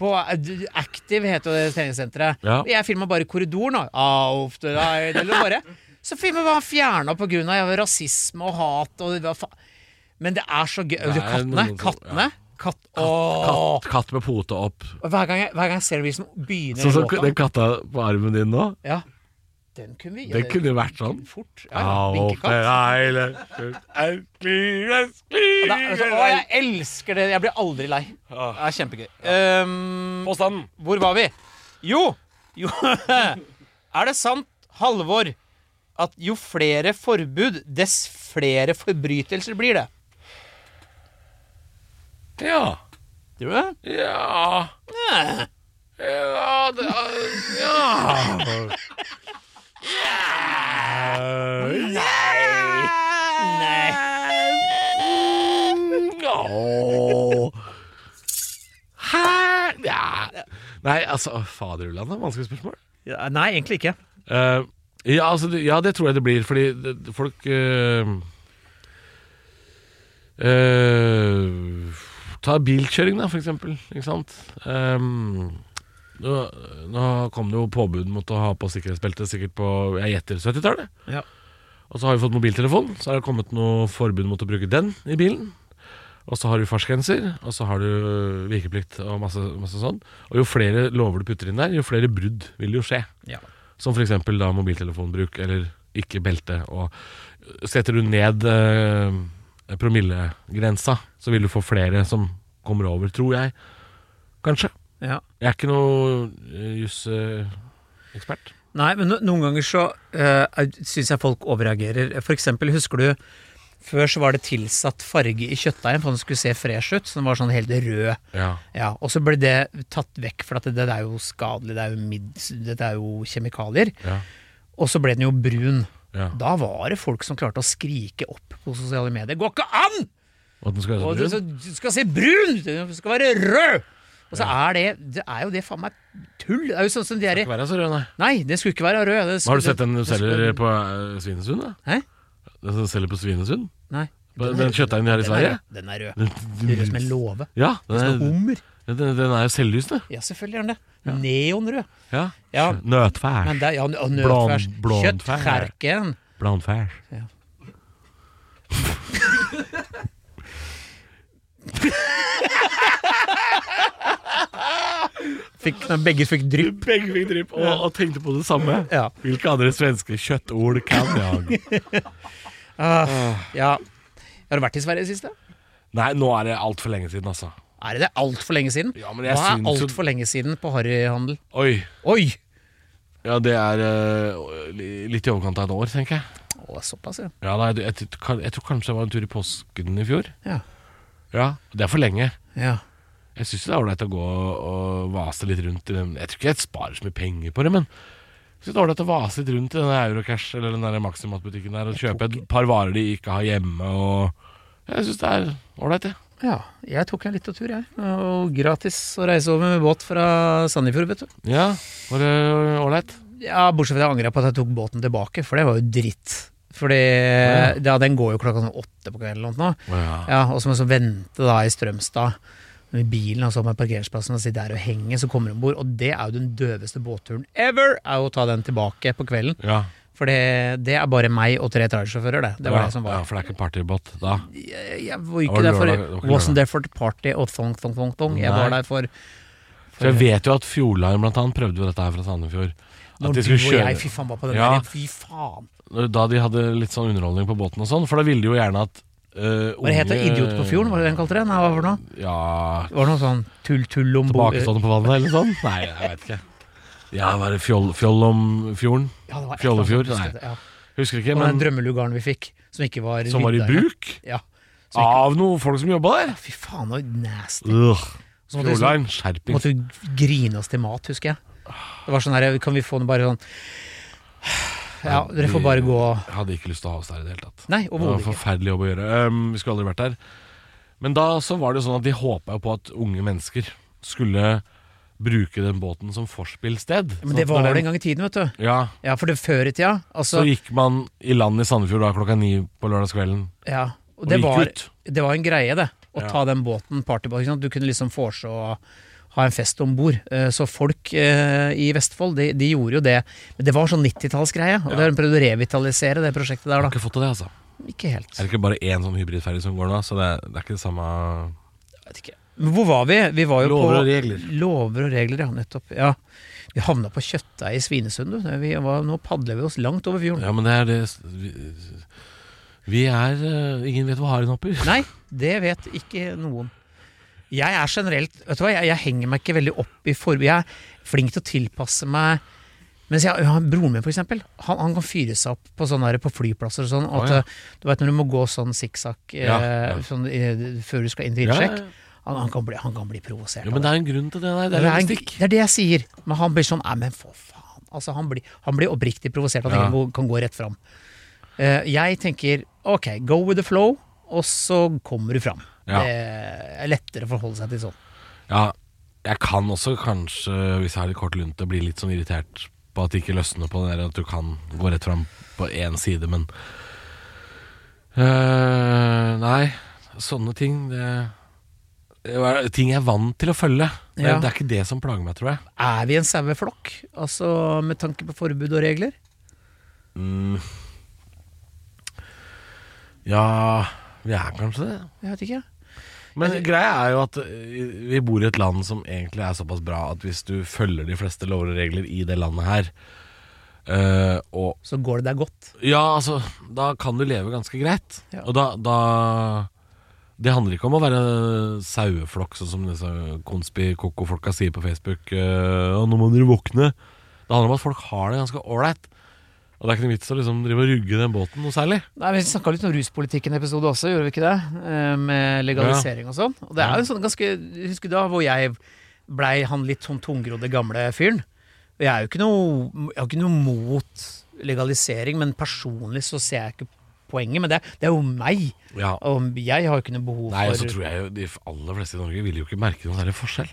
Speaker 3: På eh, Active heter det treningssenteret.
Speaker 2: Ja.
Speaker 3: Og Jeg filma bare korridoren. da. Auf the ride, Eller bare. Så filmen var fjerna pga. rasisme og hat og hva faen. Men det er så gøy.
Speaker 2: er
Speaker 3: kattene.
Speaker 2: noen som-
Speaker 3: Kattene. Katt, Åh.
Speaker 2: Katt, katt med pote opp.
Speaker 3: Og Hver, gang jeg, hver gang jeg liksom ser det, som begynner
Speaker 2: Sånn som
Speaker 3: låta
Speaker 2: den katta på armen din nå.
Speaker 3: ja. Den kunne vi eh,
Speaker 2: Den kunne jo vært sånn.
Speaker 3: Fort. Ja, ja.
Speaker 2: Auf
Speaker 3: Vinkekatt.
Speaker 2: der eine Klingel,
Speaker 3: Det er- altså, Å, jeg
Speaker 2: klingel.
Speaker 3: elsker det. Jeg blir aldri lei.
Speaker 2: Ah.
Speaker 3: Det er kjempegøy. Ehm,
Speaker 2: Påstanden.
Speaker 3: Hvor var vi? Jo! jo. er det sant, Halvor, at jo flere forbud, dess flere forbrytelser blir det?
Speaker 2: Ja.
Speaker 3: Tror du det?
Speaker 2: Ja
Speaker 3: Ja.
Speaker 2: Ja, det, ja. ja.
Speaker 3: Nei.
Speaker 2: Åh. Hæ? Ja. Nei, altså å, Faderullan, det er vanskelig spørsmål.
Speaker 3: Ja, nei, egentlig ikke.
Speaker 2: Eh, ja, altså, det- ja, det tror jeg det blir, fordi det, folk eh, eh, Ta bilkjøring, da, for eksempel. Ikke sant? Ehm, nå, nå kom det jo påbud mot å ha på sikkerhetsbelte sikkert på jeg gjetter 70-tallet.
Speaker 3: Ja.
Speaker 2: Og så har vi fått mobiltelefon, så har det kommet noe forbud mot å bruke den i bilen. Og så har du fartsgrenser, og så har du vikeplikt og masse, masse sånn. Og jo flere lover du putter inn der, jo flere brudd vil jo skje. Som f.eks. da mobiltelefonbruk eller ikke belte. Og setter du ned eh, promillegrensa, så vil du få flere som kommer over, tror jeg. Kanskje.
Speaker 3: Ja.
Speaker 2: Jeg er ikke noe eh, jusekspert.
Speaker 3: Nei, men no, noen ganger så uh, syns jeg folk overreagerer. For eksempel, husker du Før så var det tilsatt farge i kjøttdeigen for at den skulle se fresh ut. Så den var sånn helt rød.
Speaker 2: Ja.
Speaker 3: Ja, Og så ble det tatt vekk, for at det, det er jo skadelig, det er jo, mid, det er jo kjemikalier.
Speaker 2: Ja.
Speaker 3: Og så ble den jo brun.
Speaker 2: ja.
Speaker 3: Da var det folk som klarte å skrike opp på sosiale medier. Går ikke an!
Speaker 2: Og at den skal
Speaker 3: Og
Speaker 2: være
Speaker 3: du,
Speaker 2: så brun.
Speaker 3: så, du skal se brun! Du skal være rød! Og så er det Det er jo det faen meg tull. Det er jo sånn som de er i
Speaker 2: Ikke være så rød, nei.
Speaker 3: Nei, det skulle ikke være rød. Det skulle,
Speaker 2: Har du sett den du
Speaker 3: det skulle-
Speaker 2: selger på eh, Svinesund? da?
Speaker 3: Hæ?
Speaker 2: Den som selger på Svinesund?
Speaker 3: Nei.
Speaker 2: På
Speaker 3: er
Speaker 2: Den
Speaker 3: rød.
Speaker 2: kjøttdeigen de har i
Speaker 3: Den er
Speaker 2: Sverige?
Speaker 3: rød. Den er rød. Den er rød som en
Speaker 2: Den-
Speaker 3: låve.
Speaker 2: Ja,
Speaker 3: Som en
Speaker 2: den er,
Speaker 3: hummer.
Speaker 2: den, den er jo selvlysende.
Speaker 3: Ja, selvfølgelig er den det. Neonrød.
Speaker 2: Ja.
Speaker 3: Ja. Men
Speaker 2: Nøtfær.
Speaker 3: det er ja, og
Speaker 2: Blond-
Speaker 3: nøtfers.
Speaker 2: blond fær.
Speaker 3: Kjøttkerken.
Speaker 2: Blandfær.
Speaker 3: Ja. Fikk, når begge fikk drypp.
Speaker 2: Begge fikk drypp og, og tenkte på det samme.
Speaker 3: Ja.
Speaker 2: Hvilke andre svenske kjøttord kan jeg?
Speaker 3: Ah, ja. Har du vært i Sverige i det siste?
Speaker 2: Nei, nå er det altfor lenge siden, altså.
Speaker 3: Er det det altfor lenge siden?
Speaker 2: Ja, men jeg
Speaker 3: Hva er
Speaker 2: syns jo-
Speaker 3: altfor lenge siden på harryhandel?
Speaker 2: Oi.
Speaker 3: Oi!
Speaker 2: Ja, det er eh, li- litt i overkant av et år, tenker jeg.
Speaker 3: Å, såpass, ja.
Speaker 2: Ja, nei, jeg, jeg, jeg tror kanskje det var en tur i påsken i fjor.
Speaker 3: Ja.
Speaker 2: Ja, Det er for lenge.
Speaker 3: ja.
Speaker 2: Jeg syns det er ålreit å gå og vase litt rundt i den Jeg tror ikke jeg sparer så mye penger på det, men jeg synes det er ålreit å vase litt rundt i den Eurocash eller den der Maximat-butikken der og kjøpe et par varer de ikke har hjemme, og Jeg syns det er ålreit, jeg.
Speaker 3: Ja, jeg tok en liten tur, jeg. Og gratis å reise over med båt fra Sandefjord, vet du.
Speaker 2: Ja, var det ålreit?
Speaker 3: Ja, bortsett fra at jeg angra på at jeg tok båten tilbake, for det var jo dritt. Fordi ja, den går jo klokka sånn åtte på kvelden eller noe. Ja, og så må jeg så vente da i Strømstad med bilen og så med parkeringsplassen og sitte der og henge, så kommer hun bort. Og det er jo den døveste båtturen ever, er jo å ta den tilbake på kvelden.
Speaker 2: Ja.
Speaker 3: For det, det er bare meg og tre trailersjåfører, det. Det var
Speaker 2: ja,
Speaker 3: det som
Speaker 2: Ja,
Speaker 3: var.
Speaker 2: for det er ikke partybåt da.
Speaker 3: Jeg, jeg var
Speaker 2: var
Speaker 3: ikke
Speaker 2: lørdag,
Speaker 3: der
Speaker 2: det var
Speaker 3: for
Speaker 2: ikke lørdag.
Speaker 3: Wasn't there for the party og thong, thong, thong, thong. Jeg var
Speaker 2: Nei.
Speaker 3: der for
Speaker 2: For jeg vet jo at Fjordline blant annet prøvde jo dette her fra Sandefjord. At
Speaker 3: Når
Speaker 2: de
Speaker 3: du
Speaker 2: skulle
Speaker 3: og jeg,
Speaker 2: kjøre
Speaker 3: fy faen, var på den
Speaker 2: Ja.
Speaker 3: der, fy faen.
Speaker 2: Da de hadde litt sånn underholdning på båten og sånn, for da ville de jo gjerne at eh,
Speaker 3: Hva det het det?
Speaker 2: unge-
Speaker 3: Idiot på fjorden, var det den kalte det? Nei, hva var det nå?
Speaker 2: Ja,
Speaker 3: Det var noe sånn tull-tull om bo-
Speaker 2: Tilbakestående på vannet eller sånn? Nei, jeg vet ikke. Ja, var det fjoll, fjoll om fjorden?
Speaker 3: Ja, det var et
Speaker 2: Fjollefjord?
Speaker 3: eller annet
Speaker 2: Nei.
Speaker 3: sted, Ja.
Speaker 2: Husker ikke,
Speaker 3: Og den
Speaker 2: men
Speaker 3: drømmelugaren vi fikk, som ikke var
Speaker 2: som var i Ah.
Speaker 3: vidda engang.
Speaker 2: bruk
Speaker 3: Ja. Som ikke-
Speaker 2: av noen folk som jobba der.
Speaker 3: Fy faen, det var nasty.
Speaker 2: Ugh.
Speaker 3: Så måtte vi sånn-
Speaker 2: Fjordline, skjerpings.
Speaker 3: måtte vi grine oss til mat, husker jeg. Det var sånn her, kan vi få den bare sånn Ja, dere får bare gå
Speaker 2: Jeg hadde ikke lyst til å ha oss der i det hele tatt.
Speaker 3: Nei,
Speaker 2: Det var
Speaker 3: overhodet ikke.
Speaker 2: forferdelig jobb å gjøre. Um, vi skulle aldri vært der. Men da så var det jo sånn at de håpa jo på at unge mennesker skulle bruke den båten som forspillsted.
Speaker 3: Men det
Speaker 2: Sånn at
Speaker 3: var
Speaker 2: når
Speaker 3: det en
Speaker 2: den-
Speaker 3: gang i tiden, vet du.
Speaker 2: Ja,
Speaker 3: Ja, for det før i tida.
Speaker 2: så
Speaker 3: Altså,
Speaker 2: gikk man i land i Sandefjord da klokka ni på lørdagskvelden.
Speaker 3: ja. Og
Speaker 2: Og
Speaker 3: det
Speaker 2: gikk
Speaker 3: var
Speaker 2: ut.
Speaker 3: det var en greie, det. Å
Speaker 2: Ja.
Speaker 3: ta den båten, partybåten. ikke sant? Du kunne liksom foreslå å ha en fest om bord. Så folk eh, i Vestfold, de, de gjorde jo det. Men det var sånn 90-tallsgreie, og
Speaker 2: Ja.
Speaker 3: det har de prøvd å revitalisere det
Speaker 2: Jeg
Speaker 3: prosjektet
Speaker 2: har
Speaker 3: der, da.
Speaker 2: ikke fått til det, altså.
Speaker 3: Ikke helt.
Speaker 2: Er det ikke bare én sånn hybridferge som går nå? Så det er, det er ikke det samme
Speaker 3: Men hvor var vi? Vi var jo
Speaker 2: Lover
Speaker 3: på
Speaker 2: og regler.
Speaker 3: Lover og regler, ja. Nettopp. Ja. Vi havna på Kjøttdeig i Svinesund, du. Vi var, nå padler vi oss langt over fjorden.
Speaker 2: Ja, men det er det Vi, vi er eh, Ingen vet hva haren hopper.
Speaker 3: Nei, det vet ikke noen. Jeg er generelt Vet du hva, jeg, jeg henger meg ikke veldig opp i form. Jeg er flink til å tilpasse meg Mens jeg, ja, Broren min, for eksempel, han, han kan fyre seg opp på, sånne der, på flyplasser og sånn.
Speaker 2: Å,
Speaker 3: At,
Speaker 2: ja.
Speaker 3: eh, Du vet når du må gå sånn sikksakk eh,
Speaker 2: Ja, ja.
Speaker 3: sånn, eh, før du skal inn til
Speaker 2: Ja, ja,
Speaker 3: innsjekk. Han, han kan bli, han kan bli provosert.
Speaker 2: Jo, men
Speaker 3: av
Speaker 2: det er en grunn til det der. Det
Speaker 3: det,
Speaker 2: er
Speaker 3: er en-
Speaker 2: logistikk.
Speaker 3: det er det jeg sier. Men han blir sånn Nei, men for faen. Altså, han, blir, han blir oppriktig provosert av at
Speaker 2: Ja.
Speaker 3: ingen kan gå rett fram. Eh, jeg tenker ok, go with the flow, og så kommer du fram.
Speaker 2: Ja.
Speaker 3: Det er lettere å forholde seg til sånn.
Speaker 2: Ja, jeg kan også kanskje, hvis jeg har litt kort lunte, bli litt sånn irritert på at det ikke løsner på det der at du kan gå rett fram på én side, men Øh, Nei, sånne ting det, det var ting jeg er vant til å følge. Det,
Speaker 3: Ja.
Speaker 2: det er ikke det som plager meg, tror jeg.
Speaker 3: Er vi en saueflokk, altså med tanke på forbud og regler?
Speaker 2: Mm. Ja, vi er kanskje det.
Speaker 3: Jeg vet ikke.
Speaker 2: Men greia er jo at eh, vi bor i et land som egentlig er såpass bra at hvis du følger de fleste lover og regler i det landet her, Eh, og
Speaker 3: så går det deg godt.
Speaker 2: Ja, altså, da kan du leve ganske greit.
Speaker 3: Ja.
Speaker 2: Og da, da Det handler ikke om å være saueflokk, sånn som disse konspikoko-folka sier på Facebook. eh, «Å, nå må dere våkne. Det handler om at folk har det ganske ålreit. Og det er ikke noe vits å liksom drive og rugge den båten noe særlig.
Speaker 3: Nei, Vi snakka litt om ruspolitikken-episode også, gjorde vi ikke det? Eh, Med legalisering og sånn. Og det er jo en sånn ganske Husker du da hvor jeg blei han litt sånn tungrodde gamle fyren? Og Jeg er jo ikke noe, jeg har ikke noe mot legalisering, men personlig så ser jeg ikke poenget. Men det, er- det er jo meg,
Speaker 2: Ja.
Speaker 3: og jeg har jo ikke noe behov
Speaker 2: Nei, og
Speaker 3: for
Speaker 2: så tror jeg jo de aller fleste i Norge vil jo ikke merke noen særlig forskjell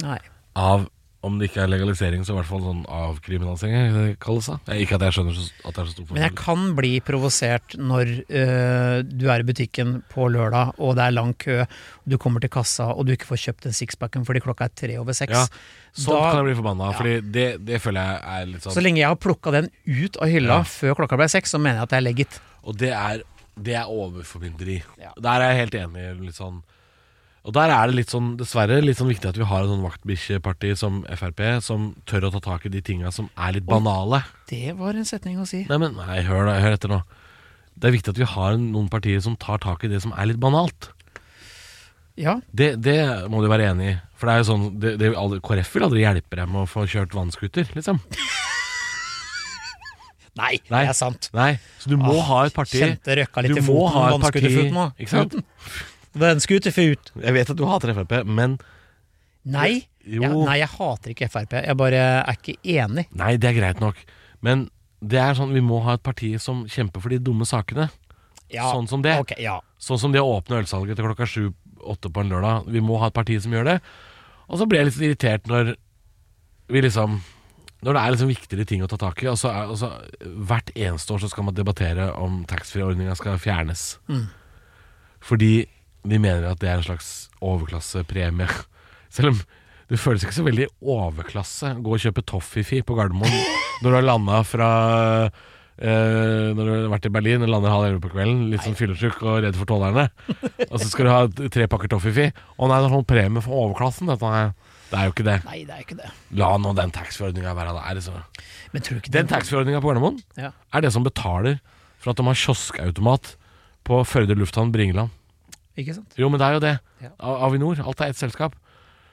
Speaker 3: Nei.
Speaker 2: av om det ikke er legalisering, så i hvert fall sånn avkriminalisering, er det det kalles da. Ikke at jeg skjønner så, at det er så stor
Speaker 3: Men jeg
Speaker 2: forskjell.
Speaker 3: kan bli provosert når øh, du er i butikken på lørdag, og det er lang kø, du kommer til kassa, og du ikke får kjøpt den sixpacken fordi klokka er tre over seks.
Speaker 2: Ja, Sånt Sånn
Speaker 3: Da-
Speaker 2: kan jeg bli forbanna av, fordi det, det føler jeg er litt sånn
Speaker 3: Så lenge jeg har plukka den ut av hylla
Speaker 2: Ja.
Speaker 3: før klokka ble seks, så mener jeg at det er legit.
Speaker 2: Og det er, det er overformynderi.
Speaker 3: Ja.
Speaker 2: Der er jeg helt enig. Litt sånn. Og der er det litt sånn, dessverre litt sånn viktig at vi har et sånn vaktbikkjeparti som Frp, som tør å ta tak i de tinga som er litt banale.
Speaker 3: Det var en setning å si.
Speaker 2: Nei, men nei, hør, da, hør etter nå. Det er viktig at vi har noen partier som tar tak i det som er litt banalt.
Speaker 3: Ja,
Speaker 2: Det, det må du være enig i. For det er jo sånn det, det, vil aldri- KrF vil aldri hjelpe deg med å få kjørt vannskuter, liksom.
Speaker 3: Nei,
Speaker 2: Nei.
Speaker 3: det er sant.
Speaker 2: Nei, så du må
Speaker 3: Ah,
Speaker 2: ha et parti
Speaker 3: Kjente røkka
Speaker 2: Du
Speaker 3: litt i
Speaker 2: må
Speaker 3: foten.
Speaker 2: ha et parti
Speaker 3: vannskuterfot nå.
Speaker 2: Ikke sant?
Speaker 3: Vannskuterfot.
Speaker 2: Jeg vet at du hater Frp, men
Speaker 3: Nei.
Speaker 2: Jo.
Speaker 3: Ja, nei, jeg hater ikke Frp. Jeg bare er ikke enig.
Speaker 2: Nei, det er greit nok. Men det er sånn vi må ha et parti som kjemper for de dumme sakene.
Speaker 3: Ja,
Speaker 2: Sånn som det.
Speaker 3: ok, ja.
Speaker 2: Sånn som det å åpne ølsalget til klokka sju-åtte på en lørdag. Vi må ha et parti som gjør det. Og så blir jeg litt irritert når vi liksom Når det er liksom viktigere ting å ta tak i. Og så er, og så, hvert eneste år så skal man debattere om taxfree-ordninga skal fjernes. Fordi de mener at det er en slags overklassepremie. Selv om det føles ikke så veldig overklasse å gå og kjøpe Toffifi på Gardermoen når du har landa fra eh, Når du har vært i Berlin og lander halv elleve på kvelden, litt sånn fyllesyk og redd for tollerne. Og så skal du ha t- tre pakker Toffifi. Å nei, det er sånn premie for overklassen, dette her. Det er jo ikke det.
Speaker 3: Nei, det er ikke det.
Speaker 2: La nå den taxfree-ordninga være det er. Liksom.
Speaker 3: Men tror du ikke
Speaker 2: Den taxfree-ordninga på Gardermoen
Speaker 3: Ja.
Speaker 2: er det som betaler for at de har kioskautomat på Førde lufthavn Bringeland.
Speaker 3: Ikke sant?
Speaker 2: Jo, men det er jo det.
Speaker 3: Ja.
Speaker 2: A- Avinor. Alt er ett selskap.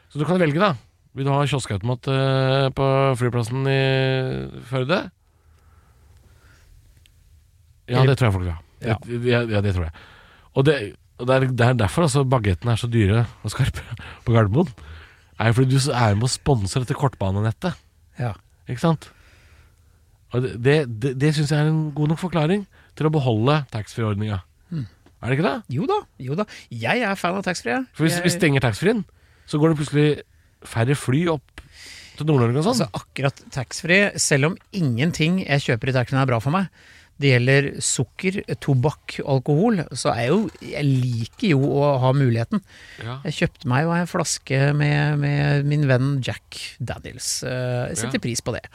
Speaker 2: Så du kan velge, da. Vil du ha kioskautomat eh, på flyplassen i Førde? Ja, det tror jeg folk vil ha.
Speaker 3: Ja.
Speaker 2: Det- Ja, ja, det tror jeg. Og det, og det, er, det er derfor altså, bagettene er så dyre og skarpe på Gardermoen. Er jo fordi du s- er med og sponser dette kortbanenettet.
Speaker 3: Ja.
Speaker 2: Ikke sant? Og det det, det, det syns jeg er en god nok forklaring til å beholde taxfree-ordninga.
Speaker 3: Hmm.
Speaker 2: Er det ikke det?
Speaker 3: Jo da, jo da. Jeg er fan av taxfree. jeg.
Speaker 2: For hvis
Speaker 3: Jeg-
Speaker 2: vi stenger taxfree-en, så går det plutselig færre fly opp til Nord-Norge og sånn.
Speaker 3: Altså akkurat taxfree, selv om ingenting jeg kjøper i taxfree er bra for meg, det gjelder sukker, tobakk, alkohol, så er jeg jo Jeg liker jo å ha muligheten.
Speaker 2: ja.
Speaker 3: Jeg kjøpte meg jo en flaske med, med min venn Jack Daniels. eh, Jeg
Speaker 2: Ja.
Speaker 3: setter pris på det.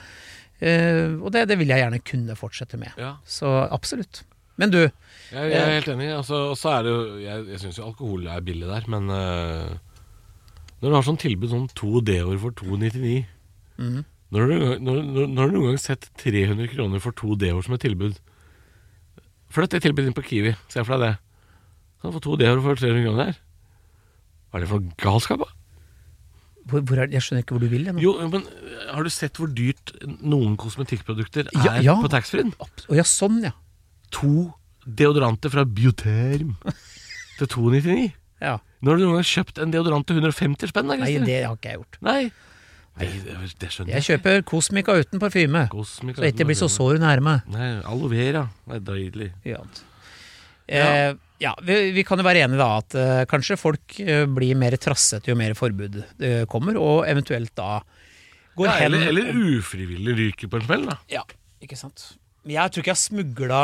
Speaker 3: Eh, og det, det vil jeg gjerne kunne fortsette med.
Speaker 2: ja.
Speaker 3: Så absolutt. Men du,
Speaker 2: Jeg, jeg er helt enig. Altså, og så er det jo Jeg, jeg syns jo alkohol er billig der, men eh, Når du har sånn tilbud som to D-år for 299
Speaker 3: Mhm.
Speaker 2: Når har du noen gang- når- når- når har du noen gang sett 300 kroner for to D-år som et tilbud? Flytt det tilbudet inn på Kiwi. Se for deg det. Kan du få to D-år for 300 kroner her? Hva er det for noe galskap, da?
Speaker 3: hvor, hvor er, jeg skjønner ikke hvor du vil hen.
Speaker 2: Jo, men øh, har du sett hvor dyrt noen kosmetikkprodukter er
Speaker 3: Ja, ja.
Speaker 2: på taxfree-en?
Speaker 3: Å ja, sånn, ja.
Speaker 2: To deodoranter fra Bioterm til 299.
Speaker 3: ja.
Speaker 2: Nå har du noen gang kjøpt en deodorant til 150 spenn, da,
Speaker 3: Nei,
Speaker 2: Christer?
Speaker 3: det har ikke jeg gjort.
Speaker 2: Nei. Det, det, det skjønner
Speaker 3: Jeg kjøper Cosmica uten parfyme,
Speaker 2: Cosmic
Speaker 3: så jeg ikke blir så
Speaker 2: Ultimate.
Speaker 3: sår nær meg.
Speaker 2: Nei, aloe vera. Nei, deilig.
Speaker 3: Ja. Eh, ja, vi, vi kan jo være enige da at eh, kanskje folk eh, blir mer trassete jo mer forbud eh, kommer, og eventuelt da går
Speaker 2: Ja,
Speaker 3: hen
Speaker 2: eller, eller ufrivillig ryker på en smell, da.
Speaker 3: Ja, ikke sant. Men jeg tror ikke jeg har smugla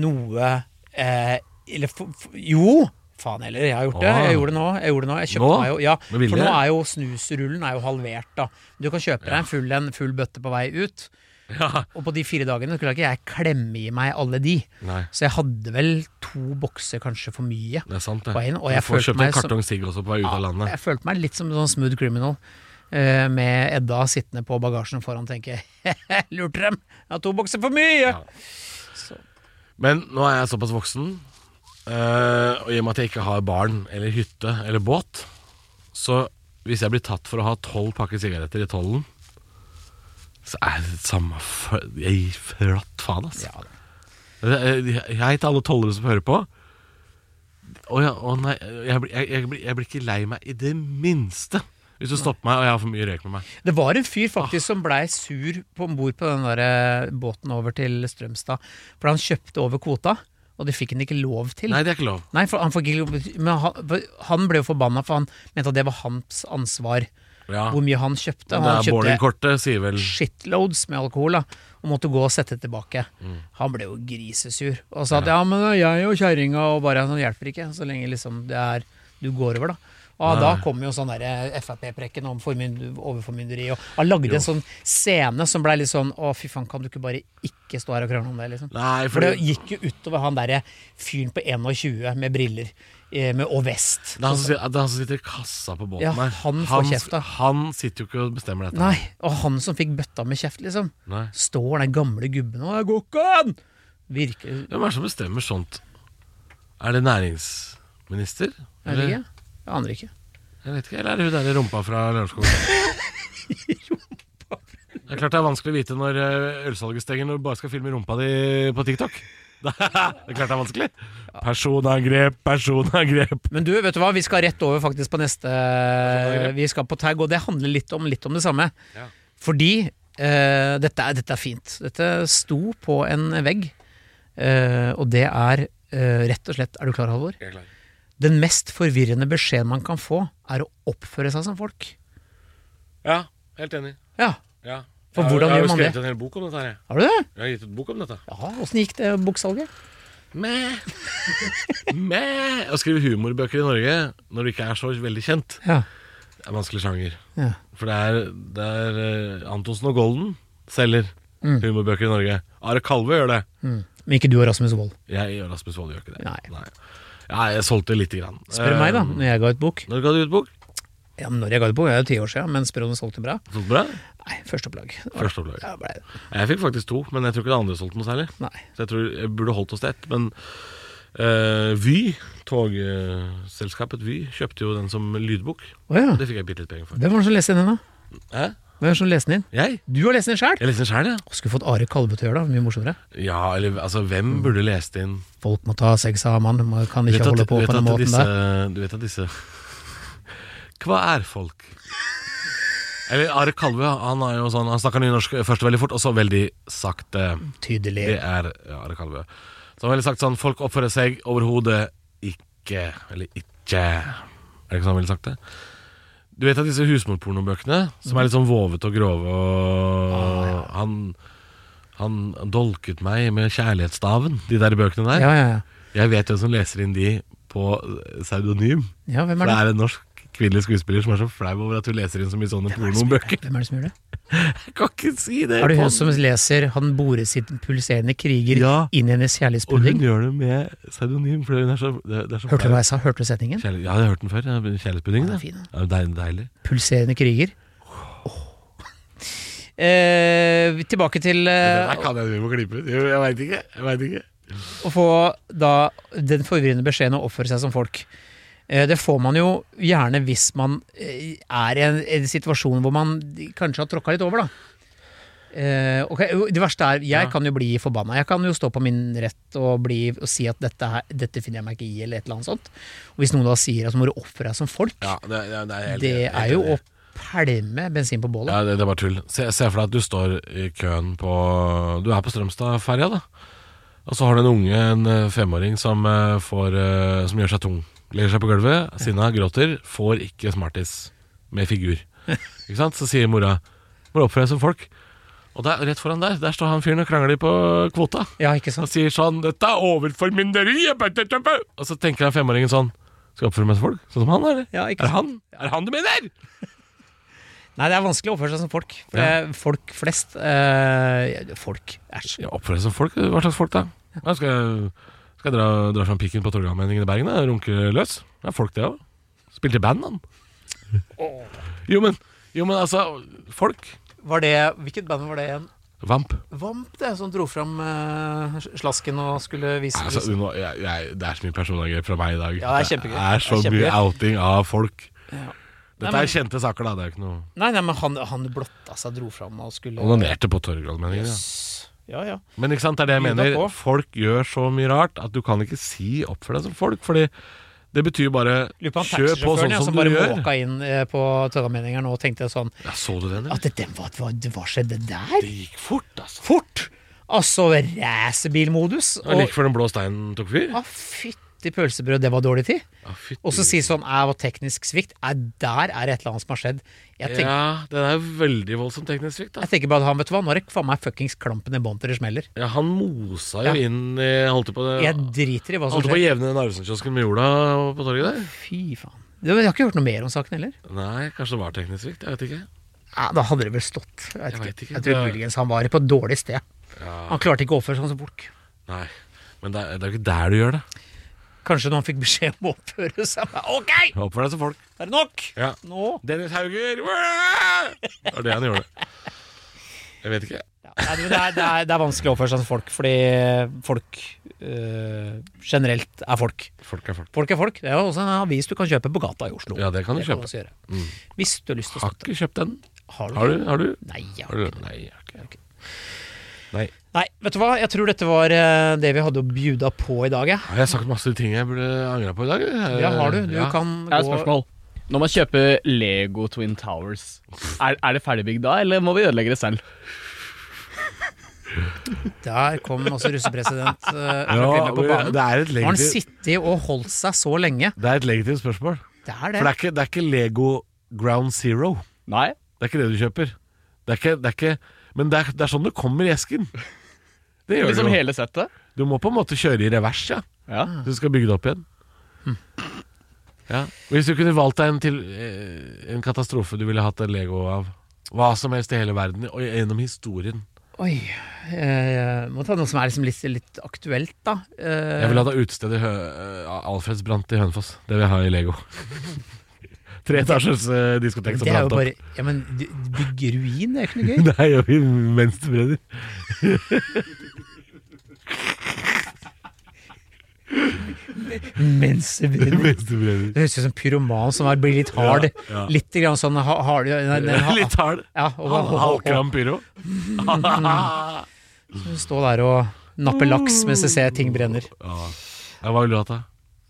Speaker 3: noe eh, Eller f f jo! Faen heller, jeg har gjort det.
Speaker 2: Åh.
Speaker 3: Jeg gjorde det nå. Jeg gjorde det nå. Jeg kjøpte
Speaker 2: Nå?
Speaker 3: meg jo ja,
Speaker 2: Med vilje?
Speaker 3: For nå er jo snusrullen er jo halvert, da. Du kan kjøpe deg en full, en full bøtte på vei ut.
Speaker 2: Ja.
Speaker 3: Og på de fire dagene skulle ikke jeg klemme i meg alle de.
Speaker 2: Nei,
Speaker 3: Så jeg hadde vel to bokser kanskje for mye.
Speaker 2: det er sant, det.
Speaker 3: På en, og
Speaker 2: Du
Speaker 3: jeg
Speaker 2: får
Speaker 3: følte
Speaker 2: kjøpt en
Speaker 3: meg som-
Speaker 2: kartong sigg også på vei ut av landet.
Speaker 3: Jeg følte meg litt som en sånn smooth criminal. eh, med Edda sittende på bagasjen foran og tenke lurte dem! Jeg har to bokser for mye!
Speaker 2: Ja. Men nå er jeg såpass voksen, eh, og i og med at jeg ikke har barn eller hytte eller båt, så hvis jeg blir tatt for å ha tolv pakker sigaretter i tollen, så er det samme f- Jeg gir flatt faen, altså. ass.
Speaker 3: Ja,
Speaker 2: Eh, Hei til alle tollere som hører på. Å ja, å nei, jeg blir, jeg, jeg, blir, jeg blir ikke lei meg i det minste hvis du stopper meg og jeg har for mye røyk med meg.
Speaker 3: Det var en fyr
Speaker 2: Ah.
Speaker 3: faktisk som blei sur på ombord på den der eh, båten over til Strømstad. For han kjøpte over kvota, og det fikk han ikke lov til.
Speaker 2: Nei, det er ikke lov.
Speaker 3: Nei, for han, fikk ikke lov- men han, han ble jo forbanna, for han mente at det var hans ansvar
Speaker 2: Ja,
Speaker 3: hvor mye han kjøpte.
Speaker 2: det
Speaker 3: Han
Speaker 2: er
Speaker 3: kjøpte
Speaker 2: boardingkortet, sier vel
Speaker 3: shitloads med alkohol da, og måtte gå og sette det tilbake. Han ble jo grisesur og sa at ja, men jeg og kjerringa og bare sånn hjelper ikke, så lenge liksom det er du går over, da. Og
Speaker 2: Nei.
Speaker 3: da kom jo sånn derre Frp-prekken om formynd- overformynderi, og han lagde en sånn scene som blei litt sånn å, fy faen, kan du ikke bare ikke stå her og krangle om det, liksom?
Speaker 2: Nei,
Speaker 3: For det
Speaker 2: fordi-
Speaker 3: gikk jo utover han derre fyren på 21 med briller eh, med, og vest.
Speaker 2: Det er han som, sitter- det er han som sitter i kassa på båten
Speaker 3: Ja,
Speaker 2: her.
Speaker 3: han får kjeft, da.
Speaker 2: han sitter jo ikke og bestemmer dette.
Speaker 3: Nei, og han som fikk bøtta med kjeft, liksom.
Speaker 2: Nei.
Speaker 3: Står den gamle gubben og «Det går ikke an! Virker
Speaker 2: Hvem er det som bestemmer sånt? Er det næringsminister?
Speaker 3: Er det ikke? Jeg aner ikke.
Speaker 2: Jeg vet ikke, Eller er det hun der i rumpa fra Lørenskog? det er klart det er vanskelig å vite når eh, ølsalget stenger når du bare skal filme rumpa di på TikTok. det er klart det er vanskelig. Personangrep, personangrep.
Speaker 3: Men du, vet du hva? Vi skal rett over faktisk på neste Vi skal på tag, og det handler litt om, litt om det samme.
Speaker 2: Ja.
Speaker 3: Fordi eh, dette, er, dette er fint. Dette sto på en vegg, eh, og det er eh, rett og slett Er du klar, Halvor? Den mest forvirrende beskjeden man kan få, er å oppføre seg som folk.
Speaker 2: Ja, helt enig.
Speaker 3: Ja,
Speaker 2: Ja.
Speaker 3: For hvordan
Speaker 2: jeg, har-
Speaker 3: gjør
Speaker 2: Jeg
Speaker 3: man
Speaker 2: har jo
Speaker 3: det?
Speaker 2: skrevet en hel bok om dette. her jeg.
Speaker 3: har du det?
Speaker 2: Jeg har gitt ut bok om dette.
Speaker 3: Ja, Åssen gikk det boksalget?
Speaker 2: Mæ. Mæ. Å skrive humorbøker i Norge når du ikke er så veldig kjent,
Speaker 3: Ja.
Speaker 2: er en vanskelig sjanger.
Speaker 3: ja.
Speaker 2: For det er, det er eh, Antonsen og Golden selger humorbøker i Norge. Are Kalve gjør det.
Speaker 3: Mm. Men ikke du og Rasmus Wold.
Speaker 2: Jeg gjør Rasmus Wold gjør ikke det.
Speaker 3: Nei.
Speaker 2: Ja, jeg solgte lite grann. Eh,
Speaker 3: Spør meg, da, når jeg ga ut bok.
Speaker 2: Når ga du ut bok?
Speaker 3: Ja, men når jeg ga ut bok, er jo ti år siden, men spør om det solgte bra?
Speaker 2: Solgte bra?
Speaker 3: Nei, førsteopplag.
Speaker 2: Første opplag.
Speaker 3: Ja, ble det.
Speaker 2: Jeg fikk faktisk to, men jeg tror ikke det andre solgte noe særlig.
Speaker 3: Nei.
Speaker 2: Så jeg tror jeg burde holdt oss til ett. Men eh, Vy, togselskapet Vy, kjøpte jo den som lydbok.
Speaker 3: Å ja.
Speaker 2: Det fikk jeg bitte litt penger for.
Speaker 3: Hvem var det som leste den inn, da?
Speaker 2: Hæ?
Speaker 3: Hvem var det som leste den inn?
Speaker 2: Jeg?
Speaker 3: Du har lest den inn sjæl!
Speaker 2: Jeg leste den sjøl, jeg.
Speaker 3: Skulle fått Are Kalve til å gjøre det. Mye morsommere.
Speaker 2: Ja, eller altså, hvem
Speaker 3: Mm.
Speaker 2: burde lest inn
Speaker 3: Folk må ta seg sammen, man kan ikke holde på
Speaker 2: vet
Speaker 3: på den
Speaker 2: at
Speaker 3: måten
Speaker 2: disse,
Speaker 3: der.
Speaker 2: Du vet at disse Hva er folk? Eller Are Kalve, han er jo sånn Han snakker nynorsk først veldig fort, og så veldig sakte.
Speaker 3: Tydelig.
Speaker 2: Det er Are Kalve. Så han har veldig sagt sånn Folk oppfører seg overhodet ikke Eller ikke Er det ikke sånn han ville sagt det? Du vet at disse husmorpornobøkene, som er litt sånn vovete og grove og
Speaker 3: Ah,
Speaker 2: han, han dolket meg med kjærlighetsstaven, de der bøkene der.
Speaker 3: Ja, ja, ja.
Speaker 2: Jeg vet hvem som leser inn de på pseudonym.
Speaker 3: Ja, hvem
Speaker 2: For
Speaker 3: er
Speaker 2: det
Speaker 3: det?
Speaker 2: er en norsk kvinnelig skuespiller som er så flau over at hun leser inn så mye sånne pornobøker.
Speaker 3: Hvem er det som gjør det?
Speaker 2: Jeg kan ikke si det!
Speaker 3: Er det
Speaker 2: på-
Speaker 3: hun som leser 'Han borer sitt pulserende kriger
Speaker 2: Ja.
Speaker 3: inn i hennes
Speaker 2: Og hun
Speaker 3: kjærlighetspudding'?
Speaker 2: gjør det med pseudonym, for hun er så, det, det er så
Speaker 3: Hørte du
Speaker 2: flau.
Speaker 3: hva jeg sa? Hørte du setningen?
Speaker 2: Kjærlig, ja, jeg har hørt den før. ja, Kjærlighetspudding.
Speaker 3: Ja, den
Speaker 2: Ja,
Speaker 3: er fin,
Speaker 2: ja, deilig, deilig.
Speaker 3: Pulserende kriger. Åh. Eh, tilbake til eh,
Speaker 2: kan jeg drive og klippe ut. Jo, Jeg veit ikke. Jeg vet ikke.
Speaker 3: å få da den forvirrende beskjeden å oppføre seg som folk. Eh, Det får man jo gjerne hvis man eh, er i en, en situasjon hvor man kanskje har tråkka litt over, da. Eh, ok, jo, Det verste er, jeg
Speaker 2: Ja.
Speaker 3: kan jo bli forbanna. Jeg kan jo stå på min rett og, bli, og si at dette, her, dette finner jeg meg ikke i, eller et eller annet sånt. Og hvis noen da sier at så må du oppføre deg som folk,
Speaker 2: Ja, det, det, det er, helt-
Speaker 3: det
Speaker 2: helt
Speaker 3: er jo
Speaker 2: enig.
Speaker 3: å pælme bensin på bålet.
Speaker 2: Ja, det, det er bare tull. Se, se for deg at du står i køen på Du er på Strømstadferja, da. Og så har du en unge, en eh, femåring, som, eh, får, eh, som gjør seg tung. Legger seg på gulvet, sinna, gråter. Får ikke Smarties med figur. Ikke sant? Så sier mora Må du oppføre deg som folk? Og der, rett foran der, der står han fyren og krangler på kvota.
Speaker 3: Ja, ikke
Speaker 2: Han
Speaker 3: sant?
Speaker 2: sier sånn 'Dette er overformynderi!' jeg bøtte tøppe!» Og så tenker han femåringen sånn Skal jeg oppføre meg som folk? Sånn som han, eller?
Speaker 3: Ja, ikke
Speaker 2: Er det
Speaker 3: sant?
Speaker 2: han? Er det han du mener?
Speaker 3: Nei, det er vanskelig å oppføre seg som folk. For
Speaker 2: Ja.
Speaker 3: eh, Folk flest eh, Folk. Æsj.
Speaker 2: Ja, oppføre seg som folk? Hva slags folk, da? Ja, skal jeg, skal jeg dra, dra fram pikken på Torgallmenningen i Bergen? da? Runke løs? Det er folk, det òg. Spilte i band, han. Jo, men Jo, men altså, folk
Speaker 3: Var det, hvilket band var det igjen?
Speaker 2: Vamp.
Speaker 3: Vamp, det, som dro fram eh, slasken og skulle vise
Speaker 2: Altså,
Speaker 3: vise-
Speaker 2: du må- jeg, jeg, det er så mye personangrep fra meg i dag.
Speaker 3: Ja, det er kjempegøy.
Speaker 2: Det er så
Speaker 3: Det er
Speaker 2: mye
Speaker 3: kjempegøy.
Speaker 2: outing av folk.
Speaker 3: Nei,
Speaker 2: Dette
Speaker 3: men-
Speaker 2: er kjente saker, da. Det er jo ikke noe
Speaker 3: Nei, nei, men han, han blotta seg, dro fram og skulle
Speaker 2: Onanerte på Torgallmenningen, ja.
Speaker 3: Jøss. Ja, ja.
Speaker 2: Men ikke sant, det er det jeg
Speaker 3: Lyda
Speaker 2: mener.
Speaker 3: på.
Speaker 2: Folk gjør så mye rart at du kan ikke si oppfør deg som folk. Fordi det betyr bare
Speaker 3: Lurer på han
Speaker 2: kjør på
Speaker 3: taxisjåføren
Speaker 2: sånn
Speaker 3: ja,
Speaker 2: som
Speaker 3: som
Speaker 2: du
Speaker 3: bare
Speaker 2: gjør.
Speaker 3: måka inn eh, på Tødameningeren og tenkte sånn
Speaker 2: Ja, så du den, eller?
Speaker 3: At det, det, hva, hva, hva skjedde der?
Speaker 2: Det gikk fort, altså.
Speaker 3: Fort! Altså racerbilmodus.
Speaker 2: Det var
Speaker 3: Og
Speaker 2: like før den blå steinen tok fyr.
Speaker 3: ah, fytti pølsebrød, det var dårlig tid.
Speaker 2: Ja, fytti.
Speaker 3: Og så si sånn «Æ, det var teknisk svikt. Nei, der er det et eller annet som har skjedd. Jeg tenker,
Speaker 2: Ja, den er veldig voldsom teknisk svikt, da.
Speaker 3: jeg tenker bare at han, vet du hva, nå er det faen meg fuckings klampen i bånn til det smeller.
Speaker 2: Ja, han mosa
Speaker 3: Ja.
Speaker 2: jo inn i Holdt på det
Speaker 3: Jeg driter i hva som
Speaker 2: Holdt på å
Speaker 3: skjer.
Speaker 2: jevne Narvesen-kiosken med jorda på torget der.
Speaker 3: Fy faen. Det- Jeg har ikke hørt noe mer om saken heller.
Speaker 2: Nei, kanskje det var teknisk svikt. Jeg vet ikke.
Speaker 3: Ja, da hadde det vel stått. Jeg, vet
Speaker 2: Jeg
Speaker 3: ikke.
Speaker 2: vet ikke.
Speaker 3: jeg tror
Speaker 2: Det-
Speaker 3: muligens han var på et dårlig sted.
Speaker 2: Ja,
Speaker 3: Han klarte ikke å oppføre seg som folk.
Speaker 2: nei. Men det er det er jo ikke der du gjør det.
Speaker 3: Kanskje når han fikk beskjed om å oppføre seg. men Ok,
Speaker 2: Oppfør deg som folk.
Speaker 3: er det nok?
Speaker 2: Ja.
Speaker 3: Nå?
Speaker 2: Dennis Hauger! Det var det han gjorde. Jeg vet ikke.
Speaker 3: Ja, nei, men det, er, det, er, det er vanskelig å oppføre seg som folk, fordi folk øh, generelt er folk.
Speaker 2: Folk er folk.
Speaker 3: Folk er folk. Det er jo også en avis du kan kjøpe på gata i Oslo.
Speaker 2: Ja, det kan du
Speaker 3: Det kan du
Speaker 2: kjøpe.
Speaker 3: også gjøre.
Speaker 2: Mm.
Speaker 3: Hvis du har lyst til å
Speaker 2: Har
Speaker 3: støtte.
Speaker 2: ikke kjøpt den.
Speaker 3: Har
Speaker 2: Har
Speaker 3: ikke?
Speaker 2: du? Har du?
Speaker 3: Nei,
Speaker 2: Har
Speaker 3: jeg har
Speaker 2: du?
Speaker 3: ikke det.
Speaker 2: Nei, jeg har ikke.
Speaker 3: Ok.
Speaker 2: Nei.
Speaker 3: Nei, vet du hva? Jeg tror dette var eh, det vi hadde å bjuda på i dag, jeg.
Speaker 2: Har jeg sagt masse ting jeg burde angra på i dag? eller?
Speaker 3: Ja, har du. Du
Speaker 2: Ja.
Speaker 3: kan
Speaker 4: Jeg har et
Speaker 3: gå
Speaker 4: spørsmål. Når man kjøper Lego Twin Towers, er, er det ferdigbygd da, eller må vi ødelegge det selv?
Speaker 3: Der kom også russepresident eh,
Speaker 2: Ja,
Speaker 3: Klingberg på
Speaker 2: men
Speaker 3: banen.
Speaker 2: det er et
Speaker 3: Nå har han
Speaker 2: legitimt,
Speaker 3: sittet og holdt seg så lenge.
Speaker 2: det er et legitimt spørsmål.
Speaker 3: Det er
Speaker 2: For det
Speaker 3: det.
Speaker 2: er, ikke, det er ikke Lego Ground Zero.
Speaker 4: Nei.
Speaker 2: Det er ikke det du kjøper. Det er ikke, det er ikke, men det er, det er sånn det kommer i esken. Det gjør
Speaker 4: Liksom
Speaker 2: det jo.
Speaker 4: hele settet?
Speaker 2: Du må på en måte kjøre i revers, ja.
Speaker 4: Ja.
Speaker 2: Så du skal bygge det opp igjen.
Speaker 3: Hm.
Speaker 2: Ja. Hvis du kunne valgt deg en, til, eh, en katastrofe du ville hatt en Lego av, hva som helst i hele verden, og gjennom historien
Speaker 3: Oi. eh, må ta noe som er liksom litt, litt aktuelt, da. Eh,
Speaker 2: Jeg vil ha det utestedet Hø eh, Alfreds brant i Hønefoss. Det vil jeg ha i Lego. Tre etasjers eh, diskotek som
Speaker 3: det er jo
Speaker 2: brant opp.
Speaker 3: bare Ja, men du- bygg ruin, det er jo ikke noe gøy.
Speaker 2: Det gjør vi mens det brenner.
Speaker 3: Mens det brenner.
Speaker 2: Mens det brenner.
Speaker 3: Det høres ut som en pyroman som er, blir litt hard.
Speaker 2: Ja, ja.
Speaker 3: Litt grann sånn ha, hard nei, nei, ha,
Speaker 2: Litt hard.
Speaker 3: ja, og, og, og, og,
Speaker 2: Halvkram pyro.
Speaker 3: Stå der og nappe laks mens jeg ser ting brenner.
Speaker 2: Ja. Ja, Hva ville du hatt, da?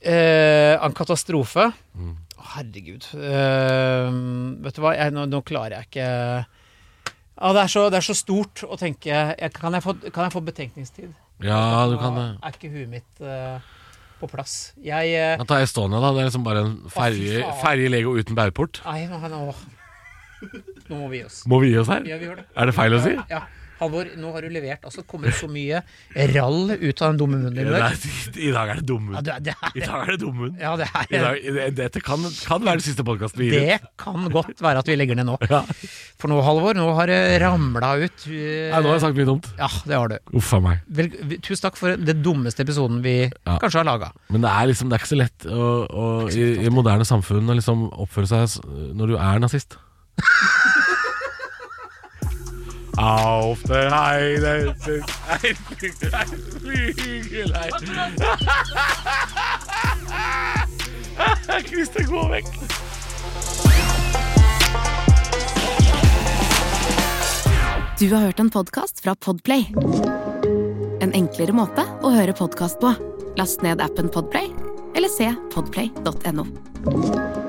Speaker 3: Eh, en katastrofe.
Speaker 2: Mm.
Speaker 3: Å, Herregud. Eh, vet du hva, jeg, nå, nå klarer jeg ikke ja, det, er så, det er så stort å tenke jeg, kan, jeg få, kan jeg få betenkningstid?
Speaker 2: Ja, du kan det.
Speaker 3: Nå Er ikke huet mitt eh, på plass? Jeg eh,
Speaker 2: Kan ta Estonia, da. Det er liksom bare en ferje
Speaker 3: faen.
Speaker 2: ferje i Lego uten baugport.
Speaker 3: Nei, nå, nå, nå må vi gi oss.
Speaker 2: Må vi gi oss her?
Speaker 3: Ja, vi gjør det.
Speaker 2: Er det feil å si?
Speaker 3: Ja, Halvor, nå har du levert. Altså, det kommer så mye rall ut av den dumme munnen din. i
Speaker 2: Ja,
Speaker 3: dag.
Speaker 2: det er- I dag er det
Speaker 3: Ja,
Speaker 2: dummen.
Speaker 3: det, er- det
Speaker 2: I
Speaker 3: er,
Speaker 2: dag er det dummen.
Speaker 3: ja, det
Speaker 2: I
Speaker 3: er
Speaker 2: dag, i- dette kan, kan være den siste podkasten vi gir ut.
Speaker 3: Det kan godt være at vi legger ned nå.
Speaker 2: Ja.
Speaker 3: For nå, Halvor, nå har det ramla ut. eh,
Speaker 2: Nei, nå har jeg sagt mye dumt.
Speaker 3: Ja, det har du.
Speaker 2: Uff a meg.
Speaker 3: Vel, vi- tusen takk for den dummeste episoden vi
Speaker 2: Ja.
Speaker 3: kanskje har laga.
Speaker 2: Men det er liksom Det er ikke så lett å, å, i, i moderne samfunn å liksom oppføre seg s- når du er nazist. Auf der Heide sitzt ein Flügel, ein Flügelein. Christer, gå vekk!
Speaker 1: Du har hørt en podcast fra Podplay En enklere måte å høre podcast på Last ned appen Podplay Eller se podplay.no